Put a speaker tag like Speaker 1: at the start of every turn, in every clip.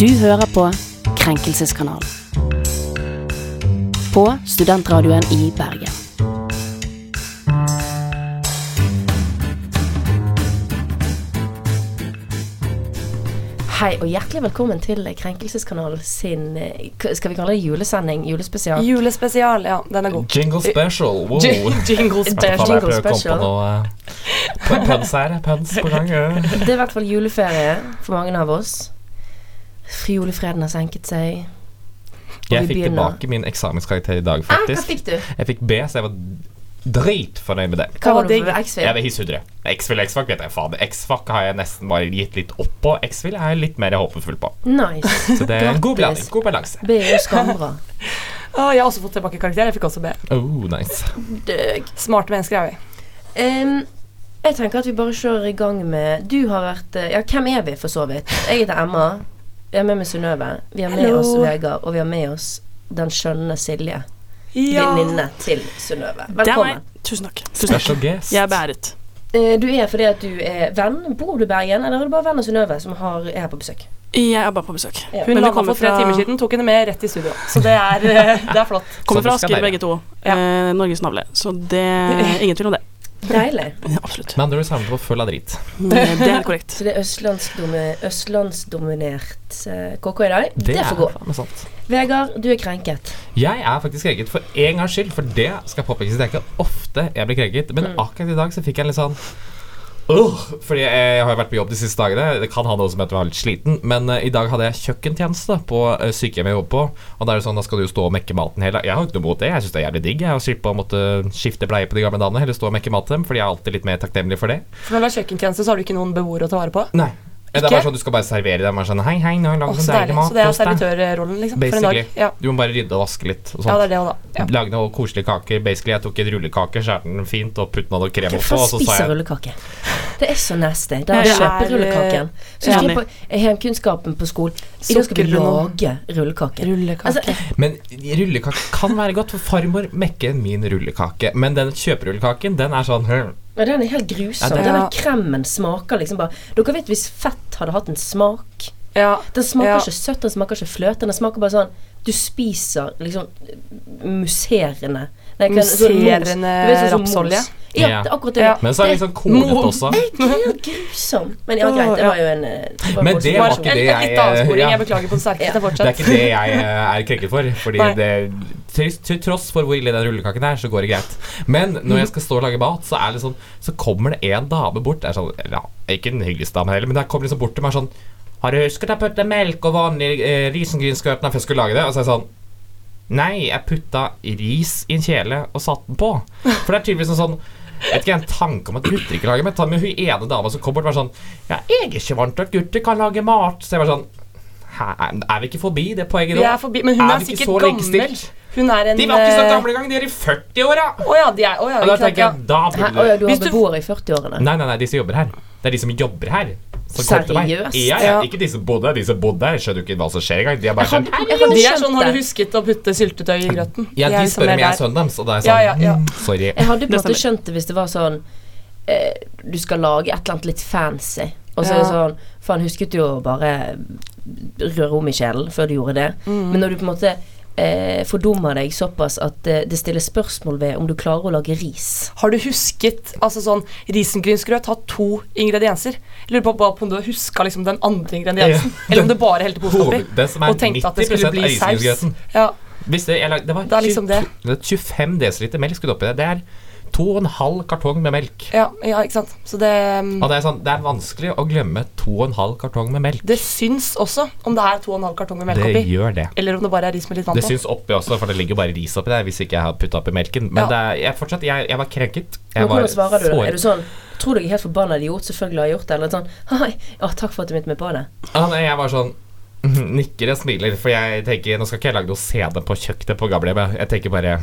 Speaker 1: Du hører på Krenkelseskanalen. På studentradioen i Bergen.
Speaker 2: Hei og hjertelig velkommen til Krenkelseskanal sin eh, k- Skal vi kalle det julesending? Julespesial?
Speaker 3: Julespesial, ja, den er god.
Speaker 4: Jingle
Speaker 2: Eh,
Speaker 4: special. Wow.
Speaker 3: Jingle
Speaker 2: special.
Speaker 4: Faen, jeg
Speaker 2: Jingle
Speaker 4: prøver å komme
Speaker 2: special.
Speaker 4: På noe, eh, på en pøns her. Pøns på gang. eh.
Speaker 2: Det er i hvert fall juleferie for mange av oss. Julefreden har senket seg.
Speaker 4: Jeg
Speaker 2: vi
Speaker 4: fikk
Speaker 2: begynner.
Speaker 4: tilbake min eksamenskarakter i dag,
Speaker 2: Ah, hva
Speaker 4: faktisk.
Speaker 2: fikk du?
Speaker 4: Jeg fikk B, så jeg var dritfornøyd med det.
Speaker 2: Hva var det for
Speaker 3: Å, digg.
Speaker 4: Jeg
Speaker 2: X-Fil?
Speaker 4: vil hissudre. X-Fill X-Fac vet jeg faen. X-Fac har jeg nesten bare gitt litt opp på. X-Fill er jeg litt mer håpefull på.
Speaker 2: Nice.
Speaker 4: Så det er en god
Speaker 2: Grattis.
Speaker 4: blanding. God balanse.
Speaker 2: B er jo skambra.
Speaker 3: Å, Ah, jeg har også fått tilbake karakter. Jeg fikk også B.
Speaker 4: Oh, nice.
Speaker 2: Døg.
Speaker 3: Smarte mennesker er vi.
Speaker 2: Em, jeg tenker at vi bare kjører i gang med Du har vært eh, Ja, hvem er vi, for så vidt? Jeg heter Emma. Vi har med meg Synnøve. Vi har med
Speaker 3: Hallo.
Speaker 2: oss Vegard. Og vi har med oss den skjønne Silje. Venninne til Synnøve.
Speaker 5: Det er
Speaker 2: Velkommen.
Speaker 5: meg. Tusen takk. Tusen takk.
Speaker 4: Special guest.
Speaker 5: Jeg er beæret.
Speaker 2: Eh, Du er fordi at du er venn. Bor du i Bergen, eller er det bare venn av Synnøve som har, er her på besøk?
Speaker 5: Jeg er bare på besøk.
Speaker 2: Ja.
Speaker 3: Hun
Speaker 5: Men vi
Speaker 3: landa
Speaker 5: kommer
Speaker 3: for tre
Speaker 5: fra-
Speaker 3: timer siden, tok henne med rett i studio. Så det er, eh, det er flott.
Speaker 5: Kommer
Speaker 4: Sånn
Speaker 5: fra
Speaker 4: det skal
Speaker 5: Asker,
Speaker 4: være.
Speaker 5: begge to.
Speaker 3: Ja.
Speaker 5: Eh, Norges navle. Så det er ingen tvil om det.
Speaker 2: Deilig.
Speaker 5: Ja, absolutt.
Speaker 4: Med andre ord samlet på full av drit.
Speaker 5: eh, Det er helt korrekt.
Speaker 2: Så det er østlandsdomi- østlandsdominert eh, KK i dag. Det, får gå.
Speaker 4: faen meg sant.
Speaker 2: Vegard, du er krenket.
Speaker 4: Jeg er faktisk krenket for en gangs skyld, for det skal påpekes. Det er ikke ofte jeg blir krenket, men
Speaker 3: Mm.
Speaker 4: akkurat i dag så fikk jeg en litt sånn Åh, fordi jeg, jeg har jo vært på jobb de siste dagene. Det kan ha noe som heter å være litt sliten, men eh, i dag hadde jeg kjøkkentjeneste på eh, sykehjemmet jeg jobber på. Og da er det sånn, da skal du jo stå og mekke maten hele Jeg har ikke noe mot det. Jeg syns det er jævlig digg jeg, å slippe å måtte skifte bleie på de gamle damene. Heller stå og mekke mat til dem, fordi jeg er alltid litt mer takknemlig for det.
Speaker 3: For når du har kjøkkentjeneste, så har du ikke noen beboere å ta vare på.
Speaker 4: Nei. Det er
Speaker 3: Ikke?
Speaker 4: bare sånn, Du skal bare servere dem. Bare sånn, hei, hei, nå har jeg
Speaker 3: Å,
Speaker 4: lagd
Speaker 3: så
Speaker 4: sånn deilig
Speaker 3: deilig.
Speaker 4: mat
Speaker 3: Så det er
Speaker 4: hos deg.
Speaker 3: servitørrollen, liksom. For en dag.
Speaker 4: Basically.
Speaker 3: Ja.
Speaker 4: Du må bare rydde og vaske litt. Og sånt.
Speaker 3: ja, det er det òg, da. Ja.
Speaker 4: Lage noe koselige kaker. Basically, Jeg tok en rullekake, skjærte den fint og puttet noe krem
Speaker 2: Hvem
Speaker 4: oppå.
Speaker 2: faen
Speaker 4: Og så sa
Speaker 2: spiser
Speaker 4: jeg
Speaker 2: rullekake? Det er så nasty. Da
Speaker 5: Ja, det
Speaker 2: kjøper
Speaker 3: er,
Speaker 2: rullekaken. Så
Speaker 5: ja.
Speaker 2: skal jeg på hjemkunnskapen på skolen. I dag skal vi
Speaker 3: Sukkerrull.
Speaker 2: lage rullekake.
Speaker 3: Rullekake.
Speaker 2: Altså,
Speaker 4: Men rullekake kan være godt, for farmor mekker min rullekake. Men den kjøperullekaken, den er sånn hm.
Speaker 2: ja, den er helt grusom.
Speaker 4: Ja, det-
Speaker 2: Den der
Speaker 3: Ja.
Speaker 2: kremen smaker liksom bare Dere vet hvis fett hadde hatt en smak
Speaker 3: Ja.
Speaker 2: Den smaker
Speaker 3: Ja.
Speaker 2: ikke søtt, den smaker ikke fløte. Den smaker bare sånn Du spiser liksom musserende Nei, hva- sånn mos. Du vet, sånn
Speaker 3: Musserende
Speaker 2: som mos.
Speaker 3: rapsolje.
Speaker 2: Ja,
Speaker 4: Ja.
Speaker 2: det er akkurat det.
Speaker 3: Ja.
Speaker 4: Men så er det litt sånn kornete også.
Speaker 2: Det er helt grusom. Men ja, greit, det var jo en eh, var
Speaker 4: Men
Speaker 2: en
Speaker 4: det
Speaker 2: god
Speaker 4: var
Speaker 2: situasjon.
Speaker 4: ikke
Speaker 3: En,
Speaker 4: det
Speaker 3: en
Speaker 4: jeg eh,
Speaker 3: litt avsporing.
Speaker 4: ja.
Speaker 3: Jeg beklager på det sterkeste.
Speaker 4: Det er
Speaker 3: Fortsett.
Speaker 4: ikke det jeg eh, er krenket for. Fordi
Speaker 3: Nei.
Speaker 4: det, til, til tross for hvor ille den rullekaken er, så går det greit. Men når jeg skal stå og lage mat, så, er det sånn, så kommer det en dame bort det er sånn, eller, ja, Ikke den hyggeligste damen heller, men der kommer liksom bort til meg sånn Har du husket å putte melk og vanlig eh, risengrynsgrøten før jeg skulle lage det? Og så er jeg sånn Nei, jeg putta ris i en kjele og satte den på. For det er tydeligvis en sånn jeg vet ikke, en tanke om at gutter ikke lager mat. Men hun ene dama som kom bort, var sånn Ja, jeg er ikke vant til at gutter kan lage mat. Så jeg var sånn Hæ, er er vi ikke forbi det poenget nå?
Speaker 3: Vi er forbi, men hun
Speaker 4: Er
Speaker 3: er,
Speaker 4: vi ikke
Speaker 3: sikkert
Speaker 4: så
Speaker 3: gammel.
Speaker 4: likestilt?
Speaker 3: Hun er en
Speaker 4: De var ikke så
Speaker 3: eh,
Speaker 4: gamle engang, de er i 40-åra!
Speaker 3: Å ja, de er, å, ja,
Speaker 4: Og da
Speaker 3: ikke sant,
Speaker 4: tenker
Speaker 3: ja.
Speaker 4: jeg, da
Speaker 2: Hæ,
Speaker 4: burde
Speaker 2: Å ja, du har
Speaker 3: Hvis du-
Speaker 2: beboere i 40-årene.
Speaker 4: Nei, nei, nei, de som jobber her. Det er de som jobber her. som kom til meg.
Speaker 2: Seriøst?
Speaker 4: Ja, ja.
Speaker 3: Ja.
Speaker 4: Ikke de som bodde her. De som bodde her, skjønner jo ikke hva som skjer engang. De er bare sånn
Speaker 2: Jeg hadde
Speaker 3: De er
Speaker 2: skjønt
Speaker 3: sånn Har
Speaker 2: det.
Speaker 3: du husket å putte syltetøy i grøten?
Speaker 4: Ja,
Speaker 3: er
Speaker 4: de
Speaker 3: liksom
Speaker 4: spør om
Speaker 3: mer
Speaker 4: jeg er
Speaker 3: der.
Speaker 4: sønnen deres, og da er jeg
Speaker 3: Ja,
Speaker 4: sånn
Speaker 3: ja, ja.
Speaker 4: mm, Sorry.
Speaker 2: Jeg hadde på en
Speaker 5: Det
Speaker 2: måte
Speaker 5: stemmer.
Speaker 2: skjønt det hvis det var sånn eh, Du skal lage et eller annet litt fancy, og så er det
Speaker 3: Ja.
Speaker 2: sånn Faen, husket du å bare røre om i kjelen før du gjorde det? Men når du på en måte eh, fordummer deg såpass at eh, det stilles spørsmål ved om du klarer å lage ris
Speaker 3: Har du husket altså sånn, Risengrynsgrøt har to ingredienser. Jeg lurer på bare på om du har huska liksom, den andre ingrediensen,
Speaker 4: Ja.
Speaker 3: eller om du bare helte posen oppi.
Speaker 4: Hoved- det som er
Speaker 3: Og tenkte at det
Speaker 4: 90%
Speaker 3: skulle
Speaker 4: av
Speaker 3: bli saus.
Speaker 4: risengrynsgrøten.
Speaker 3: Ja,
Speaker 4: Hvis det, jeg lag, det var
Speaker 3: Det er liksom
Speaker 4: 22 det er 25 dl melk skulle oppi det. Det er to og en halv kartong med melk.
Speaker 3: ja, ja, ikke sant. Så det, mm,
Speaker 4: Og det er, sånn, det er vanskelig å glemme to og en halv kartong med melk.
Speaker 3: det syns også om det er to og en halv kartong med melk
Speaker 4: Det
Speaker 3: oppi.
Speaker 4: gjør det.
Speaker 3: Eller om det bare er ris med litt vann
Speaker 4: Det
Speaker 3: på.
Speaker 4: syns oppi også, for det ligger jo bare ris oppi der hvis ikke jeg hadde putta oppi melken. Men
Speaker 3: Ja.
Speaker 4: det er, jeg, fortsatt, jeg, jeg var krenket.
Speaker 2: Men
Speaker 4: Jeg var
Speaker 2: hvordan svarer du da?
Speaker 4: sår.
Speaker 2: Er du sånn Tror du jeg er helt forbanna idiot? Selvfølgelig har jeg gjort det. Eller sånn Hei, ja, takk for at du minnet meg på det.
Speaker 4: Ja, nei, jeg var sånn Nikker og smiler, for jeg tenker nå skal ikke jeg lage noe CD på kjøkkenet på gamlehjemmet. Jeg tenker bare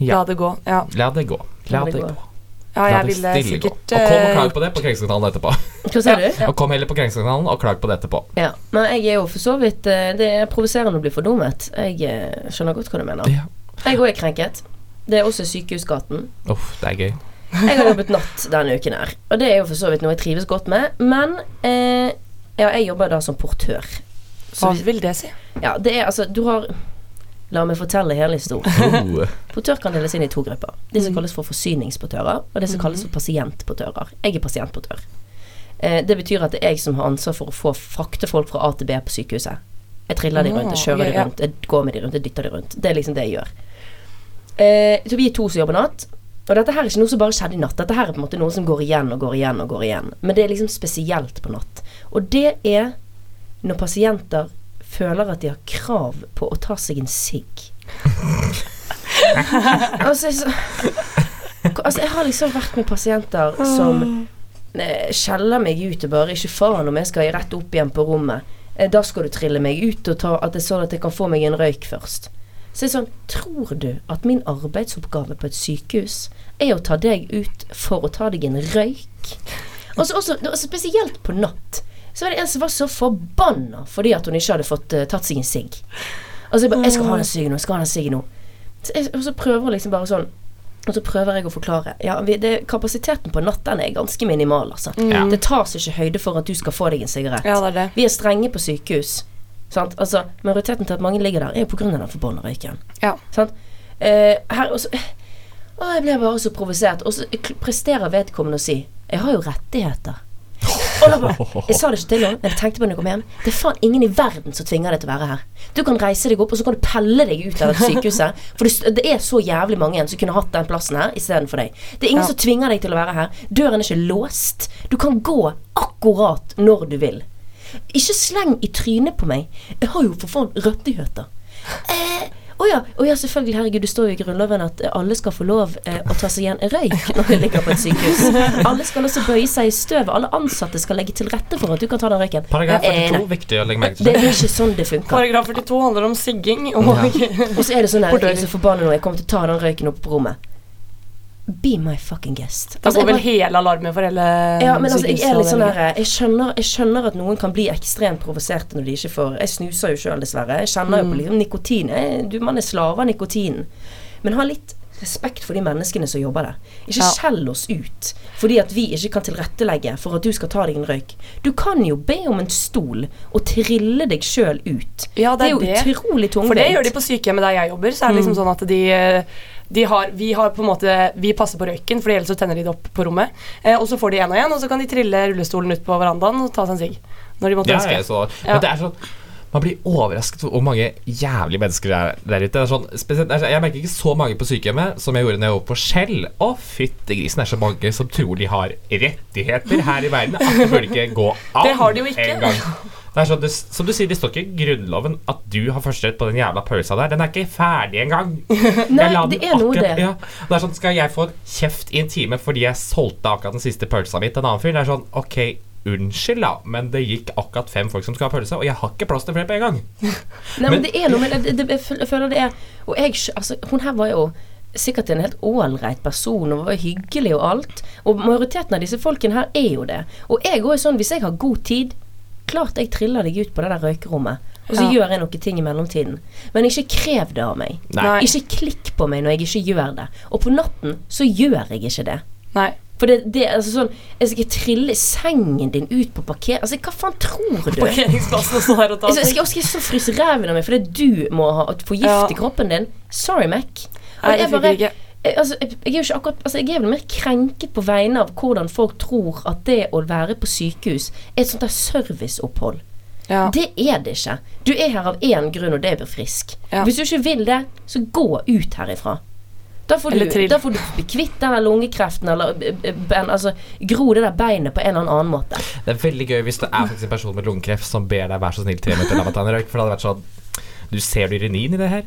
Speaker 3: La det gå. Ja,
Speaker 4: la det gå. La
Speaker 2: La det
Speaker 4: det
Speaker 2: gå.
Speaker 4: gå.
Speaker 3: ja
Speaker 4: La
Speaker 3: jeg
Speaker 4: det
Speaker 3: ville
Speaker 4: stille gå.
Speaker 3: sikkert
Speaker 4: Og kom og
Speaker 3: eh,
Speaker 4: klag på det på Krenkelseskanalen etterpå.
Speaker 2: Hva sa du?
Speaker 4: Og kom heller på Krenkelseskanalen og klag på det etterpå.
Speaker 2: Ja. Men jeg er jo for så vidt eh, Det er provoserende å bli fordummet. Jeg eh, skjønner godt hva du mener.
Speaker 4: Ja.
Speaker 2: Jeg òg er krenket. Det er også Sykehusgaten.
Speaker 4: Uff, det er gøy.
Speaker 2: Jeg har jobbet natt denne uken her, og det er jo for så vidt noe jeg trives godt med, men eh, ja, jeg jobber da som portør.
Speaker 3: Hva
Speaker 2: Så vi,
Speaker 3: vil det si?
Speaker 2: ja, det er altså Du har La meg fortelle hele historien.
Speaker 4: Oh.
Speaker 2: Portør kan deles inn i to grupper. De
Speaker 3: Mm.
Speaker 2: som kalles for forsyningsportører, og de som
Speaker 3: Mhm.
Speaker 2: kalles for pasientportører. Jeg er pasientportør. Eh, Det betyr at det er jeg som har ansvar for å få frakte folk fra A til B på sykehuset. Jeg triller de rundt, jeg
Speaker 3: Ah,
Speaker 2: kjører
Speaker 3: ja, ja.
Speaker 2: de rundt, jeg går med de rundt, jeg dytter de rundt. Det er liksom det jeg gjør. Eh, Så vi er to som jobber natt. Og dette her er ikke noe som bare skjedde i natt. Dette her er på en måte noe som går igjen og går igjen og går igjen. Men det er liksom spesielt på natt. Og det er når pasienter føler at de har krav på å ta seg en sigg. altså, jeg, så, altså, jeg har liksom vært med pasienter som eh, skjeller meg ut og bare ikke faen om jeg skal rett opp igjen på rommet. Eh, da skal du trille meg ut og ta at det er sånn at jeg kan få meg en røyk først. Så jeg er sånn, tror du at min arbeidsoppgave på et sykehus er å ta deg ut for å ta deg en røyk? Og så også, og spesielt på natt, så var det en som var så forbanna fordi at hun ikke hadde fått eh, tatt seg en sigg. Altså jeg bare, jeg skal ha den siggen nå, jeg skal ha den siggen nå. Så jeg, og så prøver hun liksom bare sånn, og så prøver jeg å forklare. Ja, vi, det, kapasiteten på natt, den er ganske minimal, altså.
Speaker 4: Ja.
Speaker 2: Det tas ikke høyde for at du skal få deg en sigarett.
Speaker 3: Mm. Ja, det er det.
Speaker 2: Vi er strenge på sykehus. Sant? Altså, majoriteten til at mange ligger der, er jo pga. den forbanna røyken.
Speaker 3: Ja.
Speaker 2: Sant? Eh, her også, å, jeg ble bare så provosert. Og så kl- presterer vedkommende å si 'Jeg har jo rettigheter'. Og da bare, jeg sa det ikke til noen, men jeg tenkte på det når jeg kom hjem. Det er faen ingen i verden som tvinger deg til å være her. Du kan reise deg opp, og så kan du pelle deg ut av dette sykehuset. For det, s- det er så jævlig mange igjen som kunne hatt den plassen her istedenfor deg. Det er ingen
Speaker 3: Ja.
Speaker 2: som tvinger deg til å være her. Døren er ikke låst. Du kan gå akkurat når du vil. Ikke sleng i trynet på meg. Jeg har jo for faen rettigheter. Eh, å ja, å ja, selvfølgelig. Herregud, det står jo i Grunnloven at eh, alle skal få lov eh, å ta seg igjen en røyk når de ligger på et sykehus. Alle skal også bøye seg i støvet. Alle ansatte skal legge til rette for at du kan ta den røyken.
Speaker 4: Paragraf
Speaker 2: Eh,
Speaker 4: 42,
Speaker 2: nei.
Speaker 4: viktig å legge merke
Speaker 2: Det
Speaker 4: til.
Speaker 2: er jo ikke sånn det funker.
Speaker 3: Paragraf 42 handler om sigging. Og
Speaker 2: Og så er det sånn her, jeg
Speaker 3: Portører.
Speaker 2: er så forbanna nå, jeg kommer til å ta den røyken opp på rommet. Be my fucking guest.
Speaker 3: da
Speaker 2: Altså,
Speaker 3: går
Speaker 2: jeg
Speaker 3: vel
Speaker 2: bare-
Speaker 3: hele alarmen for hele
Speaker 2: ja, men altså, jeg er litt sånn
Speaker 3: sykehusavdelingen.
Speaker 2: her jeg skjønner, jeg skjønner at noen kan bli ekstremt provoserte når de ikke får Jeg snuser jo sjøl, dessverre. Jeg kjenner
Speaker 3: Mm.
Speaker 2: jo på liksom nikotin. Jeg, du, man er slave av nikotinen. Men ha litt respekt for de menneskene som jobber der. Ikke
Speaker 3: Ja.
Speaker 2: skjell oss ut fordi at vi ikke kan tilrettelegge for at du skal ta deg en røyk. Du kan jo be om en stol og trille deg sjøl ut.
Speaker 3: Ja,
Speaker 2: Det
Speaker 3: det
Speaker 2: er jo
Speaker 3: er
Speaker 2: utrolig tungvint. Mm.
Speaker 3: For det gjør de på sykehjemmet der jeg jobber. Så er det liksom sånn at de, de har, vi har på en måte Vi passer på røyken, for ellers så tenner de det opp på rommet. Eh, og så får de en og en, og så kan de trille rullestolen ut på verandaen og ta seg en sigg. Når de måtte
Speaker 4: Ja,
Speaker 3: ønske.
Speaker 4: jeg så det. Men det er sånn man blir overrasket over hvor mange jævlige mennesker det er der ute. Det er sånn, spesielt, det er sånn- jeg merker ikke så mange på sykehjemmet som jeg gjorde når jeg var på Skjell. Å, fytti grisen, det er så mange som tror de har rettigheter her i verden. At det burde ikke gå an
Speaker 3: Det har de jo ikke.
Speaker 4: en gang. Det er sånn, det, som du sier, det står ikke i Grunnloven at du har førsterett på den jævla pausa der. Den er ikke ferdig engang. Jeg la
Speaker 2: det
Speaker 4: den
Speaker 2: er noe
Speaker 4: akkurat-
Speaker 2: det.
Speaker 4: Ja. Det er sånn, Skal jeg få en kjeft i en time fordi jeg solgte akkurat den siste pølsa mi til en annen fyr? Det er sånn, ok, unnskyld, da, men det gikk akkurat fem folk som skulle ha pølse, og jeg har ikke plass til flere på en gang.
Speaker 2: Nei, men
Speaker 4: Men-
Speaker 2: det er noe med det, det, jeg føl- jeg føler det er Og jeg, skj- altså, hun her var jo sikkert en helt ålreit person og var hyggelig og alt. Og majoriteten av disse folkene her er jo det. Og jeg går jo sånn, hvis jeg har god tid Klart jeg triller deg ut på det der røykerommet. Og så
Speaker 3: Ja.
Speaker 2: gjør jeg noen ting i mellomtiden. Men ikke krev det av meg.
Speaker 3: Nei.
Speaker 2: Ikke klikk på meg når jeg ikke gjør det. Og på natten så gjør jeg ikke det.
Speaker 3: Nei.
Speaker 2: For det, det er altså sånn Jeg skal trille sengen din ut på parker... Altså, hva faen tror du?
Speaker 3: Parkeringsplassen og stå der og ta
Speaker 2: Jeg skal, jeg skal så fryse ræven av meg fordi du må ha at forgifte
Speaker 3: Ja.
Speaker 2: kroppen din. Sorry, Mac.
Speaker 3: Nei,
Speaker 2: Og
Speaker 3: det
Speaker 2: jeg
Speaker 3: funker
Speaker 2: bare-
Speaker 3: ikke.
Speaker 2: jeg- Altså, jeg jeg er jo ikke akkurat altså, Jeg er vel mer krenket på vegne av hvordan folk tror at det å være på sykehus er et sånt der serviceopphold.
Speaker 3: Ja.
Speaker 2: Det er det ikke. Du er her av én grunn, og det er å bli frisk.
Speaker 3: Ja.
Speaker 2: Hvis du ikke vil det, så gå ut herifra. Da får,
Speaker 3: Eller
Speaker 2: du,
Speaker 3: trill.
Speaker 2: da får du bli kvitt den der lungekreften eller eh, eh, ben, altså, gro det der beinet på en eller annen måte.
Speaker 4: Det er veldig gøy hvis det er faktisk en person med lungekreft som ber deg være så snill tre minutter la meg ta en røyk, for det hadde vært sånn Du ser du ironien i det her?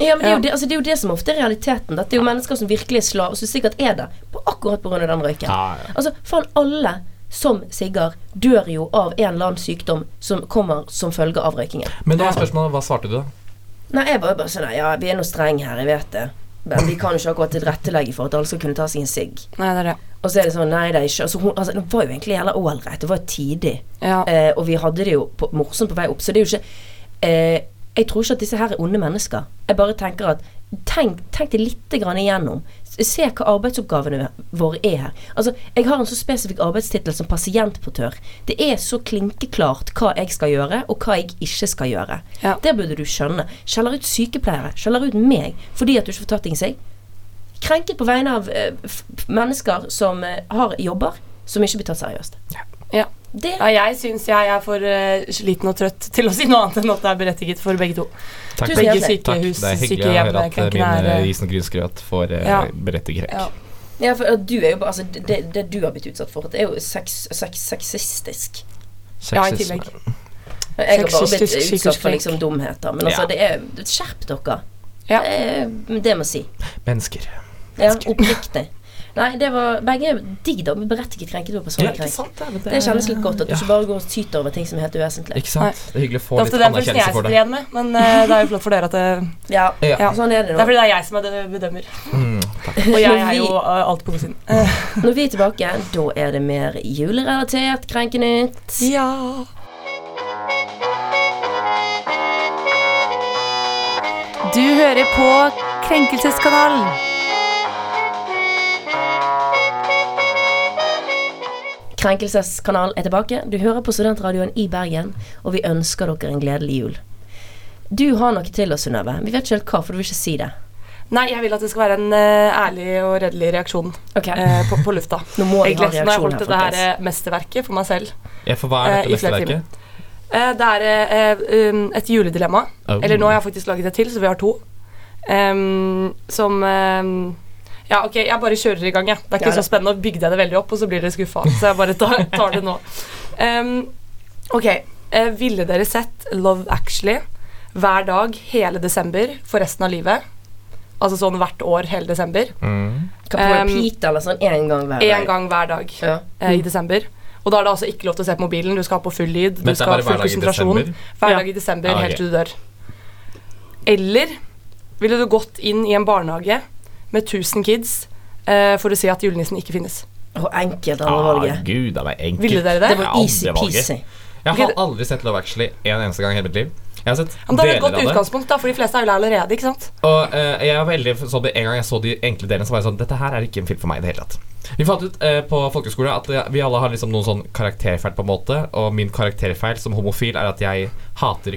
Speaker 2: Ja, men det er, jo
Speaker 3: Ja.
Speaker 2: det, altså, det er jo det som ofte er realiteten. Dette er jo mennesker som virkelig er slav, og som sikkert er det på akkurat pga. den røyken.
Speaker 4: Ja, ja.
Speaker 2: Altså, faen, alle som sigger, dør jo av en eller annen sykdom som kommer som følge av røykingen.
Speaker 4: Men da er spørsmålet, hva svarte du, da?
Speaker 2: Nei, jeg bare, bare sånn nei, Ja, vi er nå streng her, jeg vet det. Men vi kan jo ikke akkurat tilrettelegge for at alle skal kunne ta seg en sigg.
Speaker 3: Nei, det er det.
Speaker 2: Og så er det sånn Nei, det er ikke Altså, hun altså, det var jo egentlig jævla ålreit. Det var jo tidig.
Speaker 3: Ja.
Speaker 2: Eh, og vi hadde det jo på, morsomt på vei opp, så det er jo ikke eh, Jeg tror ikke at disse her er onde mennesker. Jeg bare tenker at Tenk, tenk det litt grann igjennom. Se hva arbeidsoppgavene våre er her. Altså, Jeg har en så spesifikk arbeidstittel som pasientportør. Det er så klinkeklart hva jeg skal gjøre, og hva jeg ikke skal gjøre.
Speaker 3: Ja.
Speaker 2: Det burde du skjønne. Skjeller ut sykepleiere. Skjeller ut meg fordi at du ikke får tatt ting i seg krenket på vegne av eh, f- f- mennesker som eh, har jobber som ikke blir tatt seriøst.
Speaker 3: Ja.
Speaker 2: Det
Speaker 3: Ja, jeg syns jeg er for eh, sliten og trøtt til å si noe annet enn at det er berettiget for begge to.
Speaker 4: Takk,
Speaker 2: Tusen
Speaker 4: for-
Speaker 2: hjertelig.
Speaker 3: Begge
Speaker 4: takk.
Speaker 3: sykehus,
Speaker 4: Det er hyggelig å høre at eh,
Speaker 3: sykehjem,
Speaker 4: min eh,
Speaker 3: er
Speaker 4: risengrynsgrøt får eh,
Speaker 3: Ja.
Speaker 4: berettiget krekk.
Speaker 3: Ja.
Speaker 2: ja, for at du er jo bare altså, det, det du har blitt utsatt for, det er jo sex, sex, sexistisk.
Speaker 3: Ja, i tillegg.
Speaker 4: Sexisme.
Speaker 2: Jeg har bare blitt
Speaker 3: Sexistisk,
Speaker 2: utsatt for
Speaker 3: psykisk
Speaker 2: liksom dumheter. Men altså,
Speaker 4: Ja.
Speaker 2: det er Skjerp dere.
Speaker 3: Ja.
Speaker 2: Det, er, det må jeg si.
Speaker 4: Mennesker.
Speaker 2: Ja, oppriktig. Nei, det var begge digg, da. Berettiget krenket og personlig krenket.
Speaker 4: sant, det, men
Speaker 2: Det kjennes litt godt at du
Speaker 4: Ja.
Speaker 2: ikke bare går og syter over ting som er helt uvesentlig.
Speaker 4: Ikke sant? Det er hyggelig å
Speaker 3: Det
Speaker 4: få
Speaker 3: er
Speaker 4: litt
Speaker 3: ofte den følelsen
Speaker 4: anerkjennelse
Speaker 3: jeg
Speaker 4: for
Speaker 3: sitter
Speaker 4: det.
Speaker 3: igjen med, men eh, det er jo flott for dere at det,
Speaker 2: Ja,
Speaker 4: Ja.
Speaker 3: Ja.
Speaker 2: sånn er det
Speaker 3: det er
Speaker 2: nå.
Speaker 3: fordi det er jeg som er det- bedømmer.
Speaker 4: Mm.
Speaker 3: Og jeg er
Speaker 2: Vi-
Speaker 3: jo eh, alt på god siden. Eh,
Speaker 2: Når vi er tilbake, da er det mer julerelatert Krenkenytt.
Speaker 3: Ja.
Speaker 6: Du hører på Krenkelseskanalen.
Speaker 2: Krenkelseskanal er tilbake. Du hører på Studentradioen i Bergen, og vi ønsker dere en gledelig jul. Du har noe til oss, Synnøve. Vi vet ikke helt hva, for du vil ikke si det.
Speaker 3: Nei, jeg vil at det skal være en eh, ærlig og redelig reaksjon
Speaker 2: Ok,
Speaker 3: eh, på, på lufta.
Speaker 2: Nå må vi ha
Speaker 3: Egentlig så har jeg
Speaker 2: reaksjon
Speaker 3: holdt
Speaker 2: her,
Speaker 3: dette her
Speaker 2: folkens.
Speaker 3: eh, mesterverket for meg selv.
Speaker 4: Ja, for hva er
Speaker 3: Eh, i
Speaker 4: dette
Speaker 3: flere timer.
Speaker 4: mesterverket?
Speaker 3: Eh, Det er eh, um, et juledilemma.
Speaker 4: Oh.
Speaker 3: Eller nå har jeg faktisk laget et til, så vi har to. Em, som em, Ja, ok, jeg bare kjører i gang, jeg. Det er ikke
Speaker 2: Ja, da.
Speaker 3: så spennende. og Bygde jeg det veldig opp, og så blir dere skuffa. Så jeg bare tar, tar det nå. Em, ok. eh, ville dere sett Love Actually hver dag hele desember for resten av livet? Altså sånn hvert år hele desember.
Speaker 4: Mm.
Speaker 2: Hva på
Speaker 3: ehm,
Speaker 2: repeat eller sånn én gang hver
Speaker 3: Én gang hver dag
Speaker 2: Ja.
Speaker 3: eh,
Speaker 4: Mm.
Speaker 3: i desember. Og da er det altså ikke lov til å se på mobilen. Du skal ha på full lyd. Du
Speaker 4: Dette er
Speaker 3: skal ha
Speaker 4: bare
Speaker 3: full
Speaker 4: hverdag i
Speaker 3: konsentrasjon.
Speaker 4: desember.
Speaker 3: Hver
Speaker 5: Ja.
Speaker 3: dag i desember
Speaker 4: Ja, Ah, ok.
Speaker 3: helt til du dør. Eller ville du gått inn i en barnehage med 1000 kids eh, for å si at julenissen ikke finnes?
Speaker 2: Og enkelt andre
Speaker 4: Ah,
Speaker 2: valget.
Speaker 4: gud, det var enkelt.
Speaker 3: Ville dere det?
Speaker 2: Det var
Speaker 4: Ja,
Speaker 2: easy
Speaker 4: det valget.
Speaker 2: peasy.
Speaker 4: Jeg
Speaker 3: Ok,
Speaker 4: har
Speaker 3: det-
Speaker 4: aldri sett Love Actually en eneste gang i hele mitt liv. Jeg har sett
Speaker 3: Ja, men da er det et
Speaker 4: deler
Speaker 3: godt
Speaker 4: av det.
Speaker 3: utgangspunkt, da, for de fleste er jo lei allerede. ikke sant?
Speaker 4: Og eh, jeg var veldig sånn, En gang jeg så de enkle delene, så var jeg sånn Dette her er ikke en film for meg i det hele tatt. Vi fant ut eh, på folkeskole at eh, vi alle har liksom noen sånn karakterfeil, på en måte. Og min karakterfeil som homofil er at jeg hater